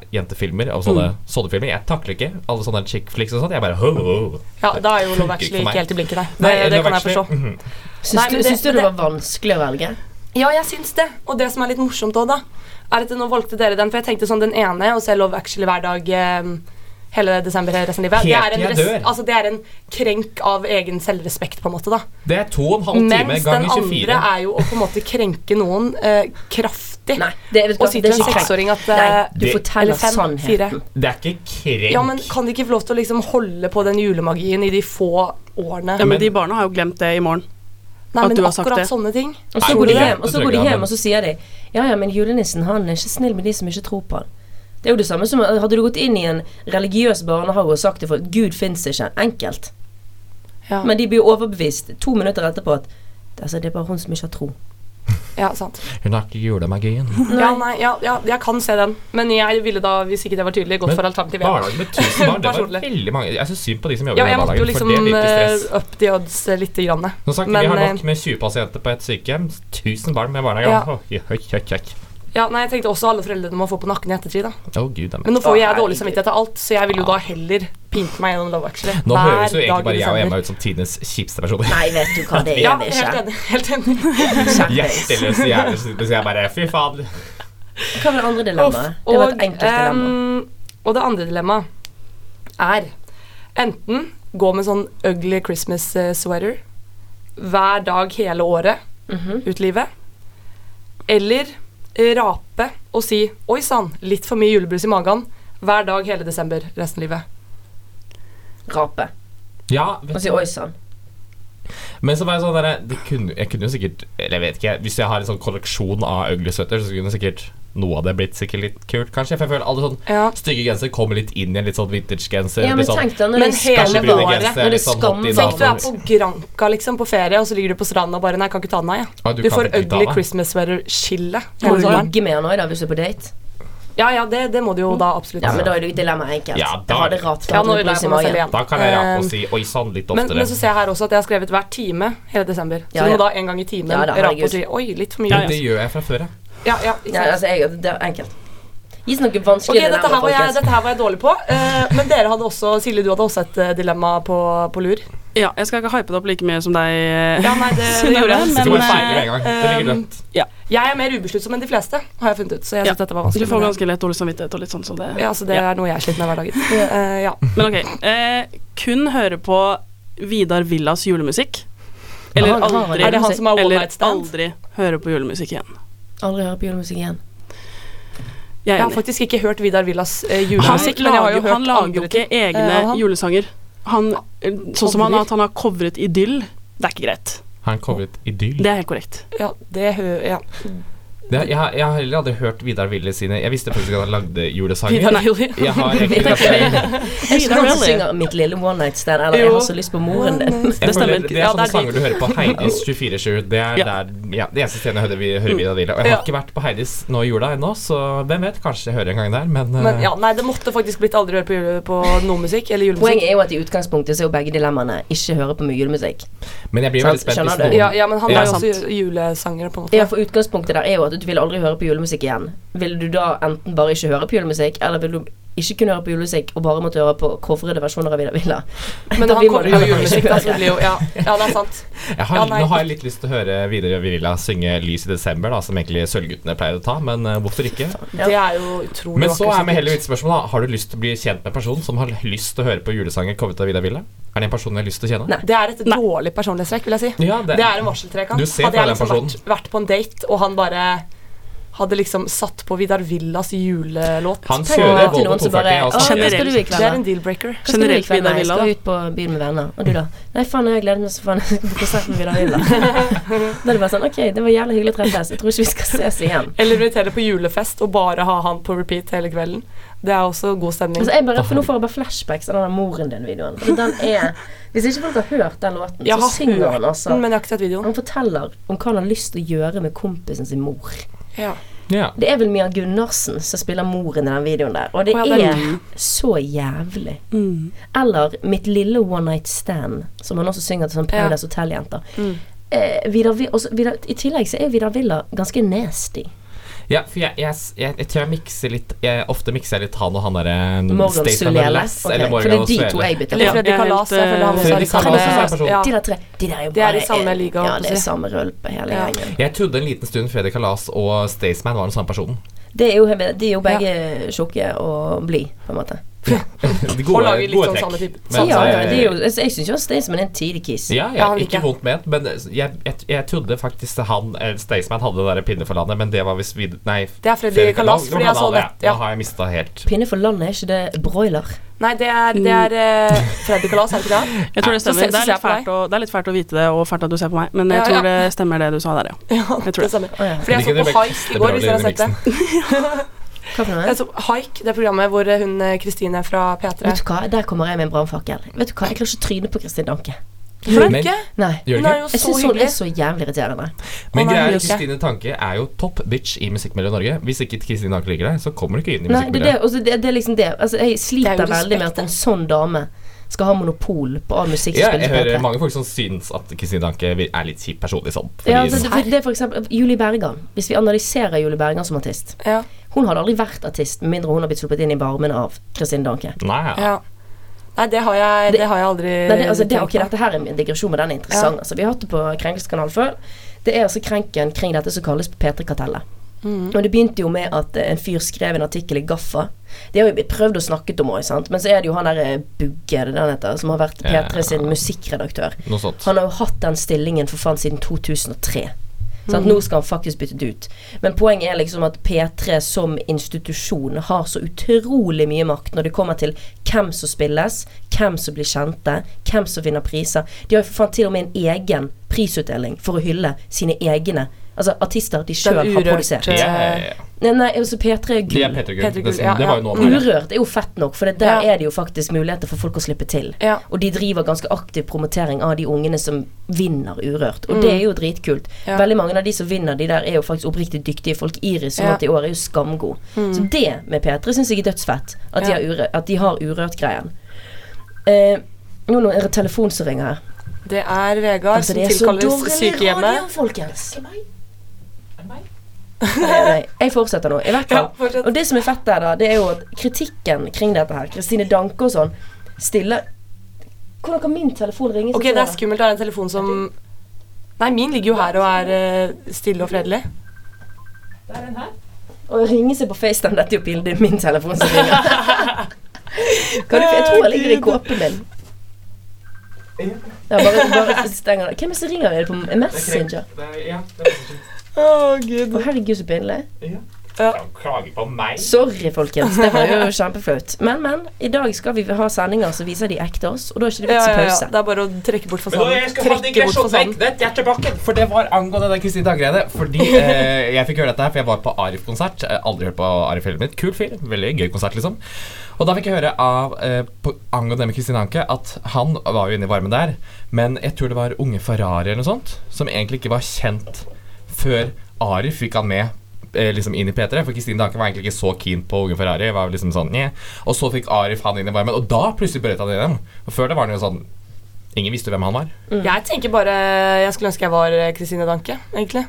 Speaker 4: klisjé-jentefilmer. Og sånne
Speaker 3: Mm.
Speaker 4: såddefilmer. Jeg takler ikke alle sånne chick flicks og sånt. Jeg bare ho, ho. ho.
Speaker 3: Ja, Da er jo Love
Speaker 4: funker ikke for
Speaker 3: Actually
Speaker 4: meg.
Speaker 3: ikke helt i blinken, nei. Det,
Speaker 4: Nei,
Speaker 3: det
Speaker 4: Love
Speaker 3: kan jeg
Speaker 4: Actually-
Speaker 3: forstå.
Speaker 4: mhm.
Speaker 2: Syns,
Speaker 3: Nei,
Speaker 2: du,
Speaker 3: men det-
Speaker 2: syns du det,
Speaker 3: det-
Speaker 2: var vanskelig å velge?
Speaker 3: Ja, jeg syns det. Og det som er litt morsomt òg, da, er at nå valgte dere den. For jeg tenkte sånn den ene, å se Love Actually hver dag eh, hele desember eh, resten av livet, det
Speaker 4: Helt
Speaker 3: er, en
Speaker 4: til jeg
Speaker 3: res-
Speaker 4: dør.
Speaker 3: altså, det er en krenk av egen selvrespekt, på en måte, da.
Speaker 4: Det er to og en halv time
Speaker 3: Mens den
Speaker 4: ganger
Speaker 3: andre
Speaker 4: 24.
Speaker 3: er jo å på en måte krenke noen eh, kraftig.
Speaker 2: Nei, det, vet du
Speaker 3: Og
Speaker 2: hva,
Speaker 3: si
Speaker 2: det
Speaker 3: til
Speaker 2: er
Speaker 3: en
Speaker 2: ikke krenk.
Speaker 3: seksåring at eh,
Speaker 2: Nei, du
Speaker 4: Det-
Speaker 2: forteller
Speaker 3: eller fem, fire.
Speaker 2: sannheten.
Speaker 4: Det er ikke krenk.
Speaker 3: Ja, men kan de ikke få lov til å liksom holde på den julemagien i de få årene?
Speaker 5: Ja,
Speaker 4: men-
Speaker 5: men de barna har jo glemt det i morgen.
Speaker 3: Nei,
Speaker 5: at
Speaker 3: men
Speaker 5: du har sagt
Speaker 3: akkurat
Speaker 5: det.
Speaker 3: sånne ting.
Speaker 2: Og så
Speaker 4: Nei,
Speaker 2: går de
Speaker 4: det-
Speaker 2: hjem, og
Speaker 4: det
Speaker 2: så,
Speaker 4: tror
Speaker 2: går
Speaker 4: jeg
Speaker 2: de
Speaker 4: ikke
Speaker 2: hjem,
Speaker 4: han-
Speaker 2: og så sier de Ja, ja, men julenissen han er ikke snill med de som ikke tror på han. Det er jo det samme som Hadde du gått inn i en religiøs barnehage og sagt til folk Gud fins ikke. Enkelt.
Speaker 3: Ja,
Speaker 2: Men de blir jo overbevist to minutter etterpå at altså, det er bare hun som ikke har tro.
Speaker 3: ja sant.
Speaker 4: Hun har ikke julemagien.
Speaker 3: Ja, nei, ja, ja, jeg kan se den. Men jeg ville da, hvis ikke det var tydelig, gått
Speaker 4: Men
Speaker 3: for alternativ 1.
Speaker 4: Barnehagen med 1000 barn, det var
Speaker 3: Personlig.
Speaker 4: veldig mange. Jeg syns synd på de som jobber
Speaker 3: Ja,
Speaker 4: i
Speaker 3: jeg
Speaker 4: den
Speaker 3: måtte
Speaker 4: barnehagen,
Speaker 3: jo liksom
Speaker 4: for det virker stress.
Speaker 3: eh, up the odds eh, lite grann.
Speaker 4: Nå sagt,
Speaker 3: Men,
Speaker 4: vi har nok
Speaker 3: eh,
Speaker 4: med 20 pasienter på et sykehjem. 1000 barn med barnehage.
Speaker 3: Ja.
Speaker 4: Åh, oi, oi, oi, oi.
Speaker 3: Ja, nei, jeg tenkte også alle foreldrene må få på nakken i ettertid, da.
Speaker 4: Å, Gud, det er meg.
Speaker 3: Men nå
Speaker 2: Å,
Speaker 3: får jo jeg dårlig
Speaker 2: herregud.
Speaker 3: samvittighet av alt, så jeg vil jo da heller pinte meg gjennom Love Actually.
Speaker 4: Nå
Speaker 3: hver
Speaker 4: høres jo egentlig
Speaker 3: dag i
Speaker 4: bare jeg og
Speaker 3: desember.
Speaker 4: Emma ut som tidenes kjipeste personer.
Speaker 2: Nei, vet du hva, det
Speaker 3: Ja,
Speaker 2: er det
Speaker 3: helt
Speaker 2: ikke.
Speaker 3: enig. Helt enig.
Speaker 2: Skjerpings.
Speaker 4: Hjerteløse hjerner som sitter og sier bare fy faen.
Speaker 2: Hva var det andre dilemmaet? Det var et enkelt dilemma.
Speaker 3: ehm, og det andre dilemmaet er enten gå med sånn ugly Christmas eh, sweater hver dag hele året
Speaker 2: Mhm.
Speaker 3: ut livet, eller eh, rape og si 'oi sann, litt for mye julebrus i magen' hver dag hele desember resten av livet.
Speaker 2: Rape.
Speaker 4: Ja, vet
Speaker 2: Og si oi sann.
Speaker 4: Men så var jeg sånn der, det kunne, jeg kunne jo sikkert Eller jeg vet ikke, hvis jeg har en sånn kolleksjon av øglesøtter, så kunne sikkert noe av det blitt sikkert litt kult, kanskje. For jeg føler alle sånn
Speaker 3: Ja.
Speaker 4: stygge gensere kommer litt inn i en litt sånn vintage-genser.
Speaker 2: Ja,
Speaker 4: litt
Speaker 2: men
Speaker 4: sånn,
Speaker 2: tenk deg når
Speaker 3: Men
Speaker 2: det
Speaker 3: hele
Speaker 4: kanskje brune
Speaker 3: våren,
Speaker 4: gensere,
Speaker 2: når det
Speaker 4: litt sånn hot i
Speaker 2: skammer-
Speaker 3: Tenk du er
Speaker 4: navlen.
Speaker 3: på Granka liksom på ferie, og så ligger du på stranda og bare 'nei, jeg kan ikke ta den av', jeg.
Speaker 4: Ja, du
Speaker 3: Du
Speaker 4: kan
Speaker 3: får
Speaker 4: ikke ta
Speaker 3: ugly
Speaker 4: den.
Speaker 3: Christmas sweater-skille.
Speaker 2: Må
Speaker 3: hele
Speaker 2: du
Speaker 3: sommeren.
Speaker 2: ligge med han òg, da, hvis du er på date?
Speaker 3: Ja, ja, det, det må det jo da absolutt.
Speaker 2: Ja, men da er det jo dilemmaet enkelt.
Speaker 4: Ja, da-
Speaker 2: Jeg hadde rart for
Speaker 3: Ja,
Speaker 2: at
Speaker 3: nå
Speaker 2: det
Speaker 3: er
Speaker 2: brus i
Speaker 3: jeg på meg selv
Speaker 2: magen.
Speaker 3: igjen.
Speaker 4: Da kan jeg rape
Speaker 3: Eh,
Speaker 4: og si Oi sann, litt
Speaker 3: men,
Speaker 4: oftere.
Speaker 3: men så ser jeg her også at jeg har skrevet hver time hele desember. Så
Speaker 2: Ja,
Speaker 3: du
Speaker 2: ja.
Speaker 3: må da en gang i timen
Speaker 2: Ja, da,
Speaker 3: rape
Speaker 2: herregud.
Speaker 3: og si Oi, litt for mye.
Speaker 5: Ja,
Speaker 4: Men det gjør jeg fra før, jeg.
Speaker 3: Ja, ja,
Speaker 2: Ja,
Speaker 3: ikke sant.
Speaker 2: altså, jeg, det er enkelt. Gis noe
Speaker 3: Ok,
Speaker 2: vanskelig
Speaker 3: dette her,
Speaker 2: dilemma,
Speaker 3: var jeg,
Speaker 2: folkens.
Speaker 3: dette her var jeg dårlig på. eh, men dere hadde også, Silje, du hadde også et eh, dilemma på, på lur.
Speaker 5: Ja, jeg skal ikke hype det opp like mye som deg. eh,
Speaker 3: Ja, nei, det, det
Speaker 5: Synnøve,
Speaker 3: gjorde jeg.
Speaker 5: men,
Speaker 4: Jeg tror jeg
Speaker 5: eh,
Speaker 4: feiler med en gang. Det ligger
Speaker 3: eh,
Speaker 4: glemt.
Speaker 3: Jeg er mer ubesluttsom enn de fleste, har jeg funnet ut. Så jeg
Speaker 5: Ja.
Speaker 3: synes dette var vanskelig.
Speaker 5: Du får
Speaker 3: men-
Speaker 5: ganske lett dårlig samvittighet og litt sånn som det.
Speaker 3: ja, så Det er noe jeg sliter med i hverdagen. Eh, ja.
Speaker 5: Men ok, eh, kun høre på Vidar Villas julemusikk. Eller
Speaker 2: Ja, han har
Speaker 5: aldri,
Speaker 2: en-
Speaker 3: Er det han som har one
Speaker 5: eller
Speaker 3: night stand?
Speaker 5: aldri høre på julemusikk igjen.
Speaker 2: Aldri høre på julemusikk igjen.
Speaker 5: Jeg
Speaker 3: Jeg
Speaker 5: er
Speaker 3: har
Speaker 5: enig.
Speaker 3: faktisk ikke hørt Vidar Villas eh,
Speaker 5: Han
Speaker 3: julemusikk, men jeg har
Speaker 5: lager,
Speaker 3: jo
Speaker 5: jo-
Speaker 3: hørt
Speaker 5: han lager jo
Speaker 3: andre
Speaker 5: ikke
Speaker 3: ting.
Speaker 5: egne
Speaker 3: Eh, han-
Speaker 5: julesanger. Han, eh, sånn som han,
Speaker 3: Covrer?
Speaker 5: at han har covret Idyll, det er ikke greit.
Speaker 4: Han covret Idyll.
Speaker 5: Det er helt korrekt.
Speaker 3: Ja, det hø ja.
Speaker 4: Det, jeg, har- jeg har heller aldri hørt Vidar Ville sine Jeg visste faktisk ikke at han lagde julesanger.
Speaker 3: Vidar Villi.
Speaker 4: Jeg har egentlig ganske-
Speaker 2: Jeg
Speaker 5: Vidar
Speaker 2: skulle han som
Speaker 5: Villi.
Speaker 2: synger 'Mitt lille one night stand', eller 'Jeg
Speaker 3: Jo.
Speaker 2: har så lyst på moren din'.
Speaker 4: jeg
Speaker 5: Det
Speaker 4: føler
Speaker 5: stemmer.
Speaker 4: Det er
Speaker 3: Ja,
Speaker 4: sånne
Speaker 3: det er
Speaker 4: sanger du hører på Heidis 24-7. Det er
Speaker 5: Ja.
Speaker 4: der, ja, det eneste stedet jeg hører, vi, hører Vidar Ville. Og jeg har
Speaker 3: Mm. Ja.
Speaker 4: ikke vært på Heidis nå i jula ennå, så hvem vet? Kanskje jeg hører en gang der, men,
Speaker 3: Men
Speaker 4: eh,
Speaker 3: ja, nei, det måtte faktisk blitt aldri høre på, jule, på noe musikk eller
Speaker 2: Poenget
Speaker 3: julemusikk.
Speaker 2: er jo at i utgangspunktet så er jo begge dilemmaene ikke høre på mye julemusikk.
Speaker 4: men jeg blir
Speaker 2: Sant,
Speaker 4: veldig spent hvis
Speaker 2: skjønner
Speaker 4: noen
Speaker 2: du?
Speaker 3: Ja, ja, men han
Speaker 4: Ja,
Speaker 3: er jo
Speaker 5: sant.
Speaker 3: også ju- julesanger, på en måte.
Speaker 2: Ja, for utgangspunktet der er jo at du vil aldri høre på julemusikk igjen. Vil du da enten bare ikke høre på julemusikk, eller vil du ikke kunne høre på julemusikk og bare måtte høre på coverede versjoner av Vidar Villa?
Speaker 3: Men
Speaker 2: Da
Speaker 3: han
Speaker 2: vil man
Speaker 3: kommer jo
Speaker 2: heller ikke
Speaker 3: julemusikk, da,
Speaker 2: høre.
Speaker 3: så det blir jo Ja, ja det er sant.
Speaker 4: jeg har,
Speaker 3: Ja, nei.
Speaker 4: Nå har jeg litt lyst til å høre Vidar Villa synge 'Lys i desember', da, som egentlig Sølvguttene pleier å ta, men eh, hvorfor ikke?
Speaker 2: Ja.
Speaker 3: Det er jo utrolig
Speaker 4: Men så
Speaker 3: vakkert,
Speaker 4: er vi heller
Speaker 3: sikkert.
Speaker 4: ute i spørsmålet da. Har du lyst til å bli kjent med en person som har lyst til å høre på julesanger covret av Vidar Ville? Er det en person du har lyst til å kjenne?
Speaker 2: Nei.
Speaker 3: Det er et dårlig personlighetstrekk, vil jeg si.
Speaker 4: Ja, det-
Speaker 3: det, er en varseltrekant.
Speaker 4: Du ser
Speaker 3: Hadde jeg
Speaker 4: på den
Speaker 3: liksom vært,
Speaker 4: personen.
Speaker 3: vært på en date, og han bare hadde liksom satt på Vidar Villas julelåt
Speaker 4: Han
Speaker 2: Tenk om
Speaker 4: kjører
Speaker 2: det er
Speaker 4: Volvo
Speaker 2: noen som bare
Speaker 4: 240 og
Speaker 2: «Å, hva
Speaker 4: snakker.
Speaker 2: skal du i
Speaker 5: Generelt.
Speaker 2: kveld,
Speaker 3: Det er en
Speaker 2: da?
Speaker 3: deal-breaker.
Speaker 2: Hva skal du i
Speaker 5: Generelt
Speaker 2: kveld, da?
Speaker 5: Vidar
Speaker 2: Jeg
Speaker 5: Villa,
Speaker 2: skal
Speaker 5: da.
Speaker 2: ut på byen med venner. Og du, da?
Speaker 3: Mm.
Speaker 2: Nei, faen, jeg gleder meg så faen. Jeg skal på konsert med Vidar Villa. Da er det bare sånn Ok, det var jævlig hyggelig å treffes. Jeg tror ikke vi skal ses igjen.
Speaker 3: Eller invitere på julefest og bare ha han på repeat hele kvelden. Det er også god stemning.
Speaker 2: Altså, jeg bare, for Nå får jeg bare flashbacks av den der moren din-videoen. For den er Hvis ikke folk har hørt den låten,
Speaker 3: Jeg
Speaker 2: så
Speaker 3: har
Speaker 2: synger
Speaker 3: hørt
Speaker 2: han altså
Speaker 3: den, men jeg har ikke sett videoen.
Speaker 2: Han forteller om hva han har lyst til å gjøre med kompisen sin mor.
Speaker 3: Ja.
Speaker 4: Ja.
Speaker 2: Det er vel Mia Gunnarsen som spiller moren i den videoen der, og det
Speaker 3: Å, ja, Mm. det er
Speaker 2: er så jævlig. Eller Mitt lille one night stand, som han også synger til sånn Paradise Hotel-jenter.
Speaker 3: Mm.
Speaker 2: Eh, Vidar, Vi- også, Vidar, I tillegg så er Vidar Villa ganske nasty.
Speaker 4: Ja, for jeg, jeg, jeg, jeg tror jeg mikser litt jeg, Ofte mikser jeg litt han og han derre
Speaker 2: Morgan Sulele. Ok,
Speaker 4: eller
Speaker 2: For det
Speaker 4: Morgan
Speaker 2: er de to jeg bytter
Speaker 3: Eller
Speaker 5: Ja,
Speaker 2: på.
Speaker 3: Freddy
Speaker 5: jeg er helt,
Speaker 3: Kalas. Jeg føler han
Speaker 5: eh,
Speaker 3: også er
Speaker 4: Freddy
Speaker 3: i samme-
Speaker 4: Kalas også er en person.
Speaker 3: Ja.
Speaker 2: De der tre de der er jo
Speaker 3: Det er
Speaker 2: bare
Speaker 3: i samme liga,
Speaker 2: Ja,
Speaker 3: holdt
Speaker 2: det
Speaker 3: på
Speaker 2: er
Speaker 3: å si.
Speaker 2: samme rølpe hele
Speaker 3: Ja.
Speaker 2: gjengen.
Speaker 4: Jeg trodde en liten stund Fredrik Kalas og Staysman var den samme personen.
Speaker 2: Det er jo, de er jo begge tjukke og blide, på en måte.
Speaker 4: De
Speaker 3: Og
Speaker 4: Gode,
Speaker 3: lager litt
Speaker 4: gode
Speaker 3: sånn
Speaker 4: trekk.
Speaker 3: samme type-
Speaker 4: Men,
Speaker 2: ja, ja,
Speaker 4: eh,
Speaker 2: det er jo, jeg jeg syns jo Staysman er en tidlig kiss.
Speaker 4: ja,
Speaker 3: Ja,
Speaker 4: ja,
Speaker 3: han liker
Speaker 4: ikke
Speaker 3: jeg.
Speaker 4: vondt ment, men eh, jeg, jeg, jeg trodde faktisk han eh, Staysman hadde det der pinne for landet, men det var visst vid- Nei,
Speaker 3: Det er Freddy
Speaker 4: Fredrik
Speaker 3: Kalas, fordi
Speaker 4: men
Speaker 3: jeg
Speaker 4: han
Speaker 3: så
Speaker 4: hadde-
Speaker 3: nett- ja.
Speaker 4: Da har jeg mista helt
Speaker 2: Pinne for landet, er ikke det broiler?
Speaker 3: Nei, det er, det er
Speaker 2: Mm.
Speaker 3: eh, Freddy Kalas, er det ikke det?
Speaker 5: Jeg tror det
Speaker 3: Så
Speaker 5: stemmer.
Speaker 3: se-
Speaker 5: Det
Speaker 3: så
Speaker 5: er
Speaker 3: ser jeg
Speaker 5: litt
Speaker 3: på
Speaker 5: fælt å, det er litt fælt å vite det, og fælt at du ser på meg, men jeg
Speaker 3: Ja, ja.
Speaker 5: tror det stemmer det du sa der, ja.
Speaker 3: Ja,
Speaker 5: Jeg tror
Speaker 3: det
Speaker 5: det.
Speaker 3: stemmer.
Speaker 2: Å ja.
Speaker 3: Fordi jeg
Speaker 4: Ligger
Speaker 3: så
Speaker 4: det
Speaker 3: på Hike
Speaker 4: vekk?
Speaker 3: i
Speaker 4: Det er
Speaker 3: går,
Speaker 4: bra
Speaker 3: hvis dere har sett det.
Speaker 4: Lene
Speaker 2: Hva for noe?
Speaker 3: Jeg så Hike, det programmet hvor eh, hun eh, Kristine fra
Speaker 2: Vet
Speaker 3: P3
Speaker 2: du hva, Der kommer jeg med en brannfakkel. Vet du hva, Jeg klarer ikke å tryne på Kristin Danke.
Speaker 3: Flink,
Speaker 4: Men-
Speaker 3: ikke?
Speaker 2: Nei.
Speaker 4: Gjør
Speaker 3: Hun
Speaker 4: det
Speaker 3: er
Speaker 4: ikke?
Speaker 3: jo
Speaker 2: Jeg
Speaker 3: så
Speaker 2: syns hun er
Speaker 3: hyggelig.
Speaker 2: så jævlig irriterende.
Speaker 4: Men
Speaker 3: Å, nei,
Speaker 4: greia er
Speaker 3: hun gjør ikke.
Speaker 4: Kristine Tanke er jo top bitch i Musikk Mellom Norge. Hvis ikke Kristine Tanke liker deg, så kommer du ikke inn i
Speaker 2: Nei, det, er
Speaker 4: musikkmiljøet.
Speaker 2: det, altså, det, det er liksom det. Altså, jeg
Speaker 3: Det er
Speaker 2: sliter
Speaker 3: jo respekt,
Speaker 2: veldig med at en sånn dame skal ha monopol på all musikk
Speaker 4: Ja,
Speaker 2: som
Speaker 4: jeg
Speaker 2: spilles på
Speaker 4: hører
Speaker 2: P3.
Speaker 4: mange folk som syns at Kristine Danke er litt kjip personlig sånn.
Speaker 2: Ja,
Speaker 4: fordi-
Speaker 2: altså, det, for- det er for eksempel Julie Bergan. Hvis vi analyserer Julie Bergan som artist
Speaker 3: Ja,
Speaker 2: Hun hadde aldri vært artist med mindre hun har blitt sluppet inn i varmen av Kristin Danke.
Speaker 4: Nei, ja.
Speaker 3: ja. Nei, det har jeg, det har jeg aldri
Speaker 2: Nei, det, altså, det,
Speaker 3: tenkt
Speaker 2: ok, dette her er en digresjon, men den er interessant. Altså, vi har hatt det på Krenkels kanal før. Det er altså krenken kring dette som kalles P3-kartellet. Og Det begynte jo med at eh, en fyr skrev en artikkel i Gaffa. Det har vi prøvd å snakke om òg, men så er det jo han der eh, Bugge er det den heter, som har vært
Speaker 4: Ja.
Speaker 2: P3 sin musikkredaktør.
Speaker 4: Noe sånt.
Speaker 2: Han har jo hatt den stillingen for faen siden 2003. Sant? Nå skal han faktisk bytte det ut. Men poenget er liksom at P3 som institusjon har så utrolig mye makt når det kommer til hvem som spilles, hvem som blir kjente, hvem som vinner priser. De har jo for faen til og med en egen prisutdeling for å hylle sine egne Altså artister de sjøl har
Speaker 3: urørte-
Speaker 2: produsert.
Speaker 4: Ja,
Speaker 3: Ja,
Speaker 4: ja,
Speaker 3: ja,
Speaker 4: ja.
Speaker 2: Nei, nei, altså P3 er
Speaker 4: De er
Speaker 2: gull.
Speaker 4: Peter Gull.
Speaker 3: Peter Gull,
Speaker 4: Det,
Speaker 3: ja,
Speaker 4: det var
Speaker 3: ja.
Speaker 4: jo noe av det.
Speaker 2: Urørt er jo fett nok, for det der
Speaker 3: Ja.
Speaker 2: er det jo faktisk muligheter for folk å slippe til.
Speaker 3: Ja.
Speaker 2: Og de driver ganske aktiv promotering av de ungene som vinner Urørt. Og det er jo dritkult.
Speaker 3: Mm. Ja.
Speaker 2: Veldig mange av de som vinner de der, er jo faktisk oppriktig dyktige folk. Iris, som
Speaker 3: Ja. Mm.
Speaker 2: vant i år, er jo skamgod. Så det med P3 syns jeg er dødsfett. At de
Speaker 3: Ja.
Speaker 2: har, urø- at de har Urørt-greien. Eh, nå nå er det telefon som ringer her.
Speaker 3: Det er Vegard
Speaker 2: Altså,
Speaker 3: som
Speaker 2: det er så
Speaker 3: tilkalles
Speaker 2: dårlig radio,
Speaker 3: sykehjemmet.
Speaker 2: folkens. Nei, nei, jeg fortsetter nå. I hvert
Speaker 3: Ja,
Speaker 2: fall.
Speaker 3: fortsett.
Speaker 2: Og det som er fett der, da, det er jo at kritikken kring dette her, Kristine Danke og sånn, stiller Hvordan kan min telefon ringe?
Speaker 3: Ok, det er skummelt å ha en telefon som Nei, min ligger jo her og er eh, stille og fredelig.
Speaker 2: Å ringe seg på FaceTime, dette er jo bildet min telefon som ringer. kan du, jeg tror jeg ligger i kåpen min. Ja, bare, bare stenger det. Hvem er det som ringer? Er det på Messenger?
Speaker 3: Å, gud.
Speaker 2: Å, herregud, så pinlig.
Speaker 4: Klager på meg.
Speaker 2: Sorry, folkens. Det var jo kjempeflaut. Men, men. I dag skal vi ha sendinger som viser de ekte oss, og da er ikke det
Speaker 3: Ja,
Speaker 2: vits i
Speaker 3: ja, ja.
Speaker 2: pause.
Speaker 3: Det er bare å trekke bort
Speaker 4: Men da, jeg
Speaker 3: fasaden.
Speaker 4: skal ha
Speaker 3: Trekke bort
Speaker 4: digresjon vekk.
Speaker 3: fasaden.
Speaker 4: Det er til bakken. For det var angående den Kristin Dagreiene. Fordi eh, jeg fikk høre dette her, for jeg var på Arif-konsert. Eh, Aldri hørt på Arif hele mitt. Kul fyr. Veldig gøy konsert, liksom. Og da fikk jeg høre av, eh, på, angående det med Kristin Anke, at han var jo inne i varmen der, men jeg tror det var Unge Ferrari eller noe sånt, som egentlig ikke var kjent før Arif fikk han med. eh, Liksom inn i P3, for Kristin Danke var egentlig ikke så keen på Unge Ferrari. Var liksom sånn, «Nye». Og så fikk Arif han inn i varmen, og da plutselig brøt han igjennom. Og Før det var han jo sånn Ingen visste hvem han var.
Speaker 3: Jeg tenker bare Jeg skulle ønske jeg var eh, Christine Danke, egentlig.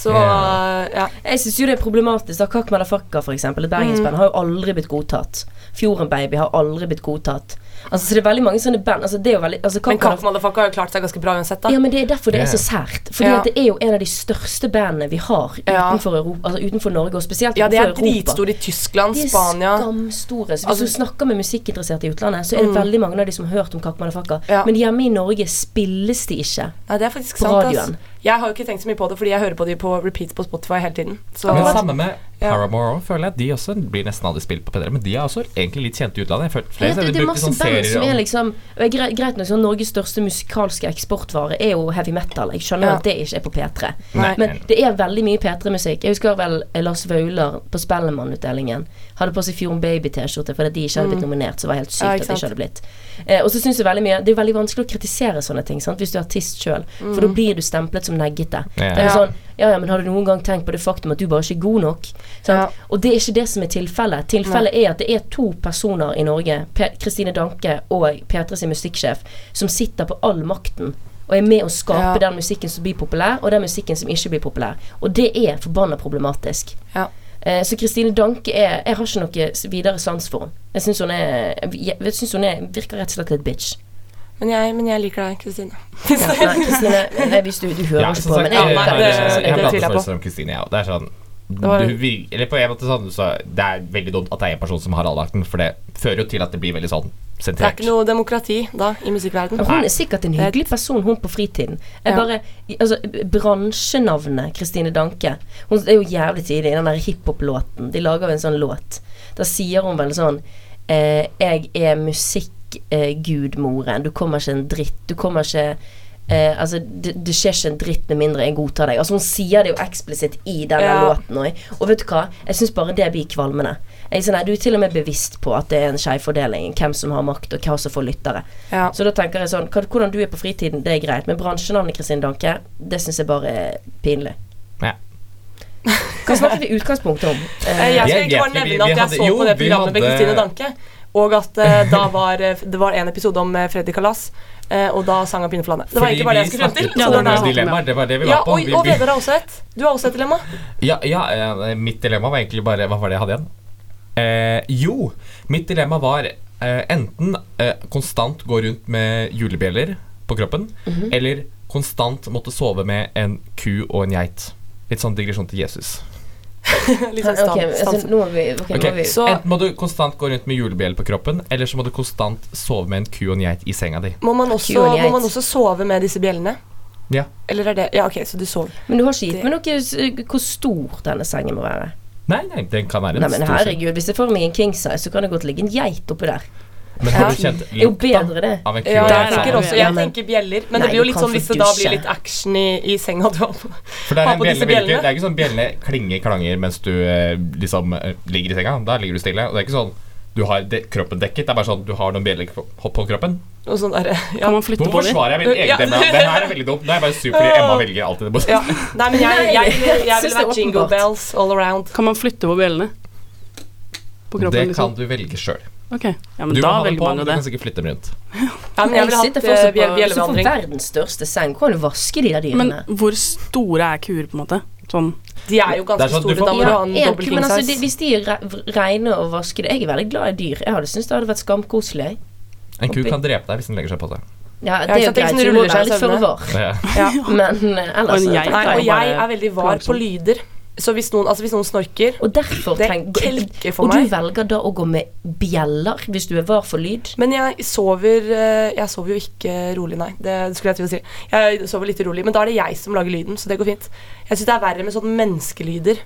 Speaker 3: Så eh, ja.
Speaker 2: Jeg syns jo det er problematisk. da Kakk Malafakka, for eksempel, et
Speaker 3: Mm.
Speaker 2: bergensband, har jo aldri blitt godtatt. Fjorden Baby har aldri blitt godtatt. Altså, så det er veldig mange sånne band altså, det er jo veldig, altså, Kakk
Speaker 3: Men Kakk
Speaker 2: Malafakka-
Speaker 3: Motherfucker har jo klart seg ganske bra uansett, da.
Speaker 2: ja, men Det er derfor det er så sært. Fordi
Speaker 3: Ja.
Speaker 2: at det er jo en av de største bandene vi har
Speaker 3: Ja.
Speaker 2: utenfor, Europa, altså, utenfor Norge, og spesielt
Speaker 3: Ja, de er
Speaker 2: utenfor Europa.
Speaker 3: dritstore i Tyskland,
Speaker 2: De er
Speaker 3: Spania
Speaker 2: skamstore. Så hvis
Speaker 3: Altså- Mm.
Speaker 2: du snakker med musikkinteresserte i utlandet, så er det veldig mange av de som har hørt om Kakk Malafakka.
Speaker 3: Ja.
Speaker 2: Men hjemme i Norge spilles de ikke.
Speaker 3: Nei, det er faktisk
Speaker 2: På
Speaker 3: sant,
Speaker 2: radioen.
Speaker 3: ass. Jeg har jo ikke tenkt så mye på det, fordi jeg hører på de på repeat på Spotify hele tiden. Så
Speaker 4: Men samme med
Speaker 3: Ja.
Speaker 4: Paramore også, føler jeg. De også blir nesten aldri spilt på P3, men de er også egentlig litt kjente i utlandet. Jeg føler
Speaker 2: Ja,
Speaker 4: flere
Speaker 2: det,
Speaker 4: steder
Speaker 2: det er
Speaker 4: bruker
Speaker 2: masse
Speaker 4: sånne
Speaker 2: band som
Speaker 4: serier
Speaker 2: er
Speaker 4: om-
Speaker 2: liksom og jeg- gre- Greit nok, sånn Norges største musikalske eksportvare er jo heavy metal. Jeg skjønner
Speaker 3: Ja.
Speaker 2: at det ikke er på P3.
Speaker 3: Nei.
Speaker 2: Men det er veldig mye P3-musikk. Jeg husker vel eh, Lars Vaular på Spellemannutdelingen. Hadde på seg Fjorden Baby-T-skjorte fordi de ikke hadde blitt nominert. Så det var helt sykt
Speaker 3: Mm. Ja,
Speaker 2: at
Speaker 3: ikke
Speaker 2: de ikke
Speaker 3: sant.
Speaker 2: hadde blitt. Eh, og så synes jeg veldig mye Det er veldig vanskelig å kritisere sånne ting sant? hvis du er artist sjøl.
Speaker 3: Mm.
Speaker 2: For da blir du stemplet som neggete.
Speaker 4: Ja.
Speaker 2: Det er
Speaker 3: Ja.
Speaker 2: sånn ja, ja, men har du noen gang tenkt på det faktum at du bare ikke er god nok? Sant?
Speaker 3: Ja.
Speaker 2: Og det er ikke det som er tilfellet. Tilfellet er at det er to personer i Norge, Pe- Kristine Danke og P3 sin musikksjef, som sitter på all makten og er med å skape
Speaker 3: Ja.
Speaker 2: den musikken som blir populær, og den musikken som ikke blir populær. Og det er forbanna problematisk.
Speaker 3: Ja.
Speaker 2: Eh, så Kristine Danke er Jeg har ikke noe s- videre sans for henne. Jeg syns hun er Jeg, jeg synes hun er, virker rett og slett litt bitch.
Speaker 3: Men jeg, men jeg liker deg, Kristine.
Speaker 2: Ja, nei, Kristine, nei, hvis du, du hører
Speaker 4: Ja, sånn
Speaker 2: ikke
Speaker 4: som
Speaker 2: på,
Speaker 4: sagt,
Speaker 2: men
Speaker 4: jeg
Speaker 2: jeg
Speaker 3: nei,
Speaker 2: liker
Speaker 3: sånn-
Speaker 4: har-
Speaker 3: det-
Speaker 2: henne ikke. så
Speaker 3: det-
Speaker 4: jeg
Speaker 2: det-
Speaker 4: har
Speaker 3: tviler jeg
Speaker 4: pratet
Speaker 3: på.
Speaker 4: først om Kristine, jeg òg. Det er sånn
Speaker 3: var-
Speaker 4: du, vir- eller på en måte sånn, så det er veldig dumt at det er en person som har all makten, for det fører jo til at det blir veldig sånn
Speaker 3: Det er
Speaker 4: sentrert.
Speaker 3: ikke noe demokrati da, i musikkverdenen.
Speaker 2: Hun er sikkert en hyggelig person, hun på fritiden. Jeg
Speaker 3: Ja.
Speaker 2: bare, altså, Bransjenavnet Kristine Danke Hun er jo jævlig tidlig i den der hiphop-låten. De lager jo en sånn låt. Da sier hun vel sånn eh, Jeg er musikkgudmoren. du kommer ikke en dritt. Du kommer ikke eh, altså, det, det skjer ikke en dritt med mindre jeg godtar deg. Altså Hun sier det jo eksplisitt i denne
Speaker 3: Ja.
Speaker 2: låten. også. Og vet du hva? Jeg syns bare det blir kvalmende. Jeg, er sånn, nei, du er til og med bevisst på at det er en skjevfordeling. Hvem som har makt, og hva som får lyttere.
Speaker 3: Ja.
Speaker 2: Så da tenker jeg sånn hva- Hvordan du er på fritiden, det er greit, men bransjenavnet Kristin Danke, det syns jeg bare er pinlig.
Speaker 4: Ja.
Speaker 2: Hva snakket vi i utgangspunktet om?
Speaker 3: Eh,
Speaker 2: Eh,
Speaker 3: Jeg skal
Speaker 4: Jeg
Speaker 3: egentlig bare
Speaker 4: vet ikke, vi-
Speaker 3: nevne at
Speaker 4: vi
Speaker 3: jeg
Speaker 4: hadde-
Speaker 3: så
Speaker 4: jo,
Speaker 3: på det
Speaker 4: vi
Speaker 3: programmet med
Speaker 4: hadde-
Speaker 3: Kristine Danke. Og at eh, da var, eh, det var en episode om eh, Freddy Kalas, eh, og da sang han Pinneflane. Det var
Speaker 4: Fordi
Speaker 3: egentlig bare det jeg
Speaker 4: vi
Speaker 3: skulle frem til. så
Speaker 4: snakket
Speaker 5: Ja,
Speaker 3: det var
Speaker 4: om
Speaker 5: det
Speaker 3: det
Speaker 5: er sant.
Speaker 3: jeg
Speaker 4: dilemmaer, det var det vi
Speaker 3: så- Ja,
Speaker 4: var på.
Speaker 3: og,
Speaker 4: Vi-
Speaker 3: og
Speaker 4: vi-
Speaker 3: Vegard har også et. Du har også et dilemma.
Speaker 4: Ja, ja eh, mitt dilemma var egentlig bare Hva var det jeg hadde igjen? Eh, jo, mitt dilemma var eh, enten eh, konstant gå rundt med julebjeller på kroppen,
Speaker 2: Mhm.
Speaker 4: eller konstant måtte sove med en ku og en geit. Litt sånn digresjon til Jesus.
Speaker 3: Litt sånn
Speaker 2: ok,
Speaker 3: stans.
Speaker 2: altså,
Speaker 3: stans.
Speaker 2: nå er vi, ok, nå er
Speaker 4: Ok,
Speaker 2: vi
Speaker 3: Så
Speaker 4: Enten må du konstant gå rundt med julebjelle på kroppen, eller så må du konstant sove med en ku og en geit i senga di.
Speaker 3: må man, også,
Speaker 2: Kue og geit.
Speaker 3: må man også sove med disse bjellene?
Speaker 4: Ja.
Speaker 3: Eller er det Ja, ok, så du sover.
Speaker 2: Men du har ikke gitt meg noe s- hvor stor denne sengen må være.
Speaker 4: Nei, nei, den kan være en
Speaker 2: Nei, men
Speaker 4: stor seng.
Speaker 2: herregud, hvis jeg får meg en king size, så kan det godt ligge en geit oppi der.
Speaker 4: Men
Speaker 2: Ja.
Speaker 4: har du kjent
Speaker 2: Det er jo
Speaker 4: lukta
Speaker 2: bedre, det.
Speaker 4: av en kul
Speaker 3: Ja, jeg
Speaker 5: Der er
Speaker 3: tenker
Speaker 5: vi.
Speaker 3: også
Speaker 2: Ja,
Speaker 3: Jeg
Speaker 2: men-
Speaker 3: tenker bjeller. Men
Speaker 2: Nei,
Speaker 3: det blir jo
Speaker 2: du
Speaker 3: litt
Speaker 2: kan
Speaker 3: sånn hvis det
Speaker 2: faktisk
Speaker 3: da
Speaker 2: ikke.
Speaker 3: blir litt action i, i senga du har på.
Speaker 4: For det er,
Speaker 3: Ha
Speaker 4: en
Speaker 3: på disse
Speaker 4: bjelle, vil ikke,
Speaker 3: bjellene.
Speaker 4: det er ikke sånn bjelle klinger, klanger mens du eh, liksom eh, ligger i senga. Da ligger du stille. Og det er ikke sånn du har de kroppen dekket. Det er bare sånn du har noen bjeller på, på kroppen.
Speaker 3: Og sånn der, ja.
Speaker 5: Kan man flytte
Speaker 4: Nå
Speaker 5: på dem?
Speaker 4: forsvarer jeg min egen
Speaker 3: Ja.
Speaker 4: demo. Den her er veldig dum. Nå er jeg bare sur fordi Emma velger alltid det motsatte.
Speaker 3: ja. Nei, men jeg,
Speaker 2: Nei,
Speaker 3: jeg, jeg,
Speaker 2: jeg
Speaker 3: vil
Speaker 2: synes det er
Speaker 3: være jingle
Speaker 2: åpenbart.
Speaker 3: bells all around.
Speaker 5: Kan man flytte på bjellene? På kroppen,
Speaker 4: Det
Speaker 5: liksom?
Speaker 4: kan du velge sjøl.
Speaker 5: Ok, ja,
Speaker 4: Du
Speaker 5: men
Speaker 4: må
Speaker 5: da
Speaker 4: ha den
Speaker 5: velger
Speaker 4: på,
Speaker 5: man
Speaker 4: men
Speaker 5: jo
Speaker 4: du
Speaker 5: det.
Speaker 4: kan sikkert flytte den rundt.
Speaker 3: Ja, men jeg
Speaker 2: Jeg
Speaker 3: ville
Speaker 2: sitter
Speaker 3: hatt eh,
Speaker 2: fortsatt
Speaker 3: bjell-
Speaker 2: på så for
Speaker 3: bjellevandring.
Speaker 2: verdens største seng. Hvordan vasker de der
Speaker 5: Men
Speaker 2: dyrene?
Speaker 5: hvor store er kuer, på en måte? Sånn.
Speaker 3: De er jo
Speaker 4: Det
Speaker 3: ganske
Speaker 4: er sånn at du
Speaker 3: store.
Speaker 4: får-
Speaker 3: Da må du ha en
Speaker 2: egentlig,
Speaker 3: dobbel
Speaker 2: men altså, de,
Speaker 3: king size.
Speaker 2: hvis de er re- reine og vaskede Jeg er veldig glad i dyr. Jeg hadde syntes det hadde vært skamkoselig. jeg.
Speaker 4: En ku
Speaker 2: Oppi.
Speaker 4: kan drepe deg hvis den legger seg på deg.
Speaker 2: Ja,
Speaker 3: Ja,
Speaker 2: det er jo
Speaker 3: ikke sant, det
Speaker 2: greit,
Speaker 3: er ikke sånn
Speaker 2: så du må
Speaker 3: ruller seg
Speaker 2: være
Speaker 3: i
Speaker 2: litt føre
Speaker 3: søvne.
Speaker 2: var.
Speaker 4: Ja.
Speaker 3: Ja.
Speaker 2: Men eh, ellers
Speaker 5: Og en
Speaker 2: så
Speaker 5: geit
Speaker 2: tenker
Speaker 3: Nei,
Speaker 5: er
Speaker 3: og
Speaker 5: jo
Speaker 3: jeg
Speaker 5: bare
Speaker 3: er veldig var på
Speaker 5: plagsom.
Speaker 3: lyder. Så hvis noen, altså hvis noen snorker
Speaker 2: Og derfor
Speaker 3: Det
Speaker 2: trenger
Speaker 3: kelker for
Speaker 2: Og du
Speaker 3: meg.
Speaker 2: velger da å gå med bjeller hvis du er var for lyd?
Speaker 3: Men jeg sover eh, Jeg sover jo ikke rolig, nei. Det skulle jeg til å si. Jeg sover litt urolig, men da er det jeg som lager lyden, så det går fint. Jeg syns det er verre med sånne menneskelyder.